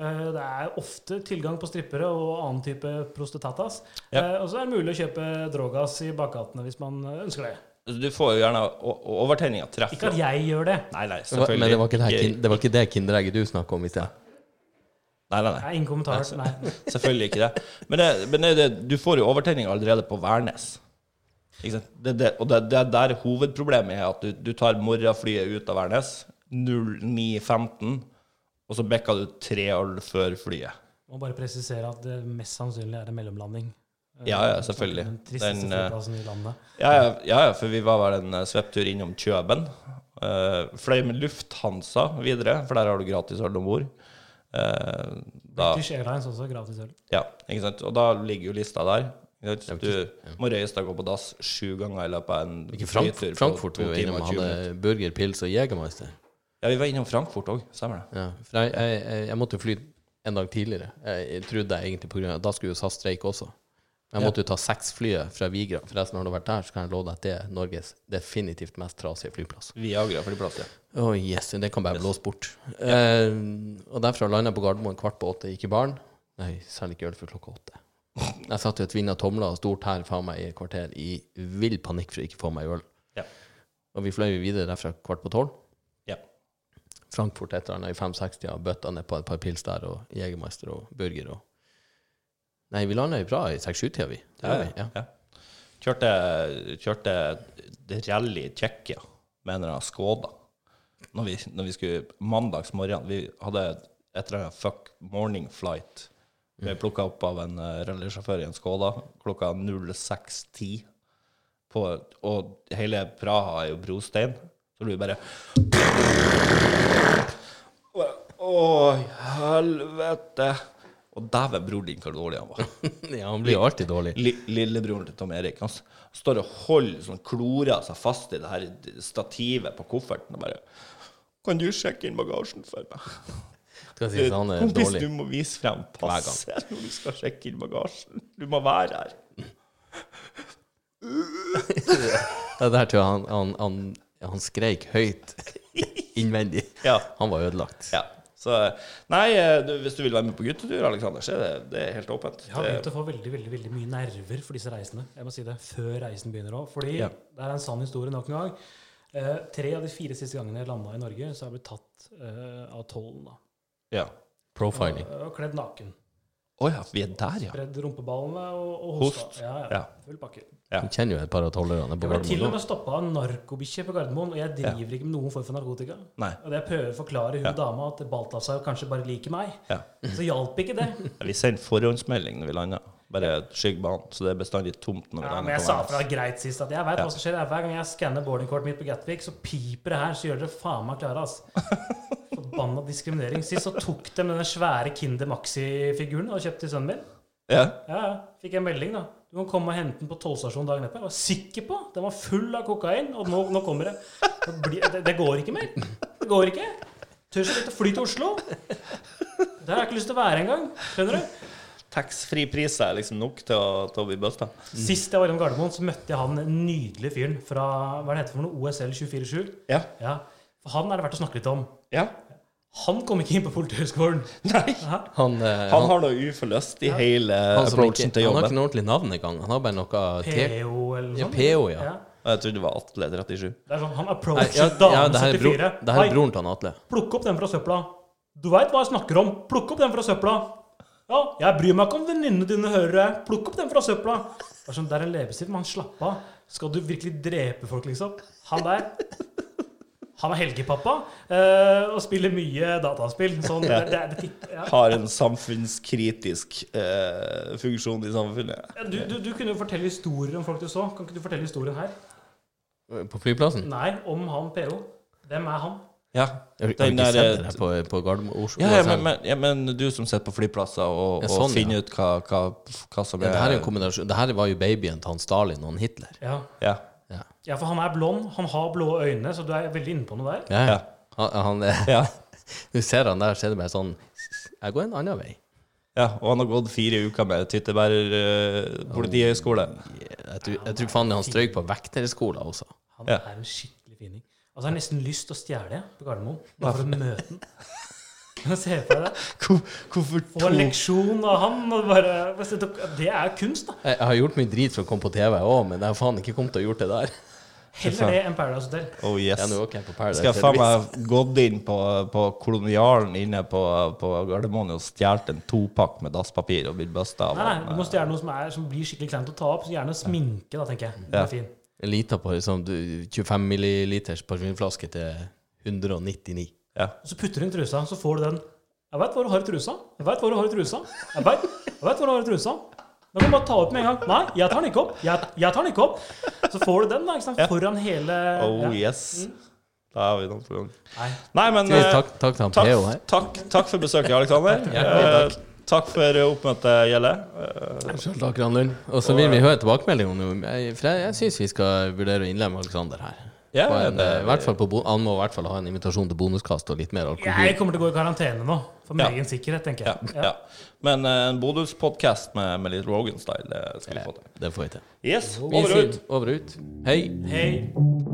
Eh, Det er ofte tilgang på strippere og annen type prostatatas. Ja. Eh, Og så er det mulig å kjøpe drogas i bakgatene hvis man ønsker det. Altså, Du får jo gjerne o- o- overtenninga Ikke treffer. at jeg gjør det. Nei, nei, Det var, selvfølgelig. men det var ikke det, her, kin- det, var ikke det kinderegget du snakka om i sted. Nei, nei, Det nei. er ingen kommentar. Nei. Selvfølgelig ikke det. Men, det, men det, det, du får jo overtenning allerede på Værnes. Ikke sant? Det, det, og det, det er der hovedproblemet er at du, du tar morgenflyet ut av Værnes 09.15, og så bikker du tre øl før flyet. Må bare presisere at det mest sannsynlig er en mellomlanding. Eh, Ja, ja, selvfølgelig. Den tristeste Den, eh, flyplassen i landet. Ja, ja, ja, ja, for vi var vel en eh, svepptur innom Kjøben. Eh, fløy med Lufthansa videre, for der har du gratis øl om bord. Eh, da, British Airlines også, gratis øl. ja, ikke sant? Og da ligger jo lista der. Ikke sant? Ja, Du må røyes deg gå på dass sju ganger i løpet av en Ikke Frank, flytur på Frankfurt to vi var innom eh, timer og 20 og minutter. hadde burger, pils og Jegermeister. Ja, vi var innom Frankfurt òg, stemmer det. Ja, for jeg, jeg, jeg, jeg måtte jo fly en dag tidligere. Jeg, jeg trodde jeg egentlig på grunn av Da skulle jo SAS streike også. Men jeg måtte jo ta seks-flyet fra Vigra. Forresten, har du vært der, så kan jeg love deg at det er Norges definitivt mest trasige flyplass. Viagra flyplass, ja. Å, yes, det kan bare blåse bort. Eh, og derfra landa jeg på Gardermoen kvart på åtte, gikk i baren. Nei, selv ikke øl før klokka åtte. Jeg satt i et vinna tomler og stort her faen meg i et kvarter i vill panikk for å ikke få meg øl. Ja. Og vi fløy videre derfra kvart på tolv. Ja. Frankfurt et eller annet i 560 og bøtta ned på et par pils der, og Jegermeister og burger og Nei, vi landa jo bra i seks-sju-tida, vi. Det Ja, gjorde vi, ja. ja. Kjørte, kjørte rally i Tsjekkia med en eller annen Skoda. Når vi, når vi skulle mandags morgen Vi hadde et eller annet fuck morning flight. Mm. Ble plukka opp av en eh, rallysjåfør i en Skoda klokka 06.10. På, og hele Praha er jo brostein. Så blir vi bare Og bare, Å, helvete. Og dæven, bror din, hvor dårlig han var. ja. ja, han blir jo alltid dårlig. Li- Lillebroren til Tom Erik han s- står og holder sånn klorer seg fast i det her stativet på kofferten og bare Kan du sjekke inn bagasjen for meg? Skal sies han er Kompis, dårlig. du må vise frem passet når du skal sjekke inn bagasjen. Du må være her. Ja, der tror jeg han, han, han, han skreik høyt innvendig. Ja. Han var ødelagt. ja. Så Nei, eh, du, hvis du vil være med på guttetur, Aleksander, så er det, det er helt åpent. Jeg har Det- begynt å få veldig veldig, veldig mye nerver for disse reisene. Jeg må si det, Før reisen begynner òg. Fordi Ja. det er en sann historie nok en gang. Eh, tre av de fire siste gangene jeg landa i Norge, så har jeg blitt tatt eh, av tollen. da. ja. Profiling. Og, og kledd naken. Å ja, vi er der, ja. Bredd rumpeballene og, og hosta. Host. Ja, ja. Ja. Full pakke. Ja. Du kjenner jo et par av tollerne på Jeg ble til og Gardermoen. med stoppa av en narkobikkje på Gardermoen, og jeg driver ikke med noen form for narkotika. Nei. Og det jeg prøver å forklare hun dama, at Balthazar kanskje bare liker meg, Ja. så hjalp ikke det. Vi sender forhåndsmelding når vi lander. Bare skygg banen, så det er bestandig tomt når vi Ja, lander. men jeg på sa Værnes. fra greit sist at jeg veit hva som skjer. Hver gang jeg skanner boardingkortet mitt på Gatwick, så piper det her, så gjør dere faen meg klare, ass. Forbanna diskriminering. Sist så tok de denne svære Kinder Maxi-figuren og kjøpte til sønnen min. ja. Ja, ja. Fikk jeg en melding, da. Du kan komme og hente den på tollstasjonen dagen etter. Jeg var sikker på! Den var full av kokain, og nå, nå kommer det. Det, blir, det. Det går ikke mer. Det går ikke. Tør så vidt å fly til Oslo. Der har jeg ikke lyst til å være engang. Skjønner du? Taxfree-priser er liksom nok til å, til å bli busta. Mm. Sist jeg var innom Gardermoen, så møtte jeg han nydelige fyren fra hva er det heter for noe, OSL 247. Ja. Ja. For han er det verdt å snakke litt om. ja. Han kom ikke inn på Politihøgskolen. Nei. Hæ? Han, eh, Han har noe uforløst i hele han som ikke, approachen til han har ikke jobben. noe ordentlig navn engang. Han har bare noe T... PO E eller noe Ja, sånt. PO, ja. Og Jeg trodde det var Atle 37. Det er sånn, Han Nei, approachet ja, ja, dame det her er, bro, 74. det her Hei, er broren til han Atle. Plukk opp den fra søpla. Du veit hva jeg snakker om. Plukk opp den fra søpla. Ja, jeg bryr meg ikke om venninnene dine hører det. Plukk opp den fra søpla. Det er sånn, det er en levestil, men slapp av. Skal du virkelig drepe folk, liksom? Han der. Han er helgepappa eh, og spiller mye dataspill. Sånn, det, det, det, tipp- ja. Har en samfunnskritisk eh, funksjon i samfunnet. du, du, du kunne jo fortelle historier om folk du så. Kan ikke du fortelle historien her? På flyplassen? Nei, om han PO. Hvem er han? Ja. Jeg har Den ikke der, sett eh, det her på, på Gardermoen. Oslo. sånn, Ja, ja, men, men, ja, men du som sitter på flyplasser og, Ja, sånn, og ja. finner ut hva, hva, hva som er Ja, det her er jo en kombinasjon. Det her var jo babyen til han Stalin og han Hitler. Ja. ja. Ja. ja, for han er blond. Han har blå øyne, så du er veldig inne på noe der. Ja. Ja. Han, han, er- Ja. Du ser han der, så er det bare sånn Jeg går en annen vei. ja. Og han har gått fire uker med Tyttebærer eh, politihøgskole. Jeg tror, jeg tror faen han strøyk på vekterskolen også. Han Ja. er en skikkelig fining. Altså, jeg har nesten lyst til å stjele på Gardermoen, bare for å møte den. Se for deg det. Hvor- Hvorfor Få en to leksjon av han. Og bare, det er kunst, da. Jeg jeg har gjort mye drit for å komme på TV òg, men jeg har faen ikke kommet til å gjort det der. Heller det enn Paradise Hotel. Oh yes. Jeg er nå ok på Paradise. Skal jeg faen meg gått inn på, på kolonialen inne på, på Gardermoen og stjålet en topakk med dasspapir og blitt busta av Nei, nei, han, eh, du må stjele noe som, er, som blir skikkelig kleint å ta opp. Så gjerne sminke, da, tenker jeg. Det Ja. er fin. En liter på liksom, du- 25 milliliters parfymeflaske til 199. eh, ja. Og så putter du inn trusa, så får du den. Jeg veit hvor du har i trusa. Jeg vet hvor du har i trusa. Jeg vet, jeg vet hvor du har i trusa. Da kan du bare ta opp med en gang. Nei, jeg tar den ikke opp. Jeg, jeg tar den ikke opp. Så får du den da, ikke sant? foran hele Oh ja. Mm. yes. Da er vi noe på gang. Nei. Nei, men eh, Takk, takk til han takk, PO her. takk, takk for besøket, Aleksander. Ja, Eh, takk for oppmøtet, Gjelle. Eh, Selv takk, Granlund. Og så vil vi høre tilbakemelding om jeg- For jeg, jeg syns vi skal vurdere å innlemme Alexander her. Ja, På en, det- eh, i hvert fall på, bo- han må i hvert fall ha en invitasjon til bonuskast og litt mer alkohol. Jeg kommer til å gå i karantene nå, for min Ja. egen sikkerhet, tenker ja, jeg. ja. Men eh, en bonuspodkast med, med litt Rogan-style, det skal vi få til. Det får vi til. Yes, Vi over og ut. sier over og ut. Hei. Hei.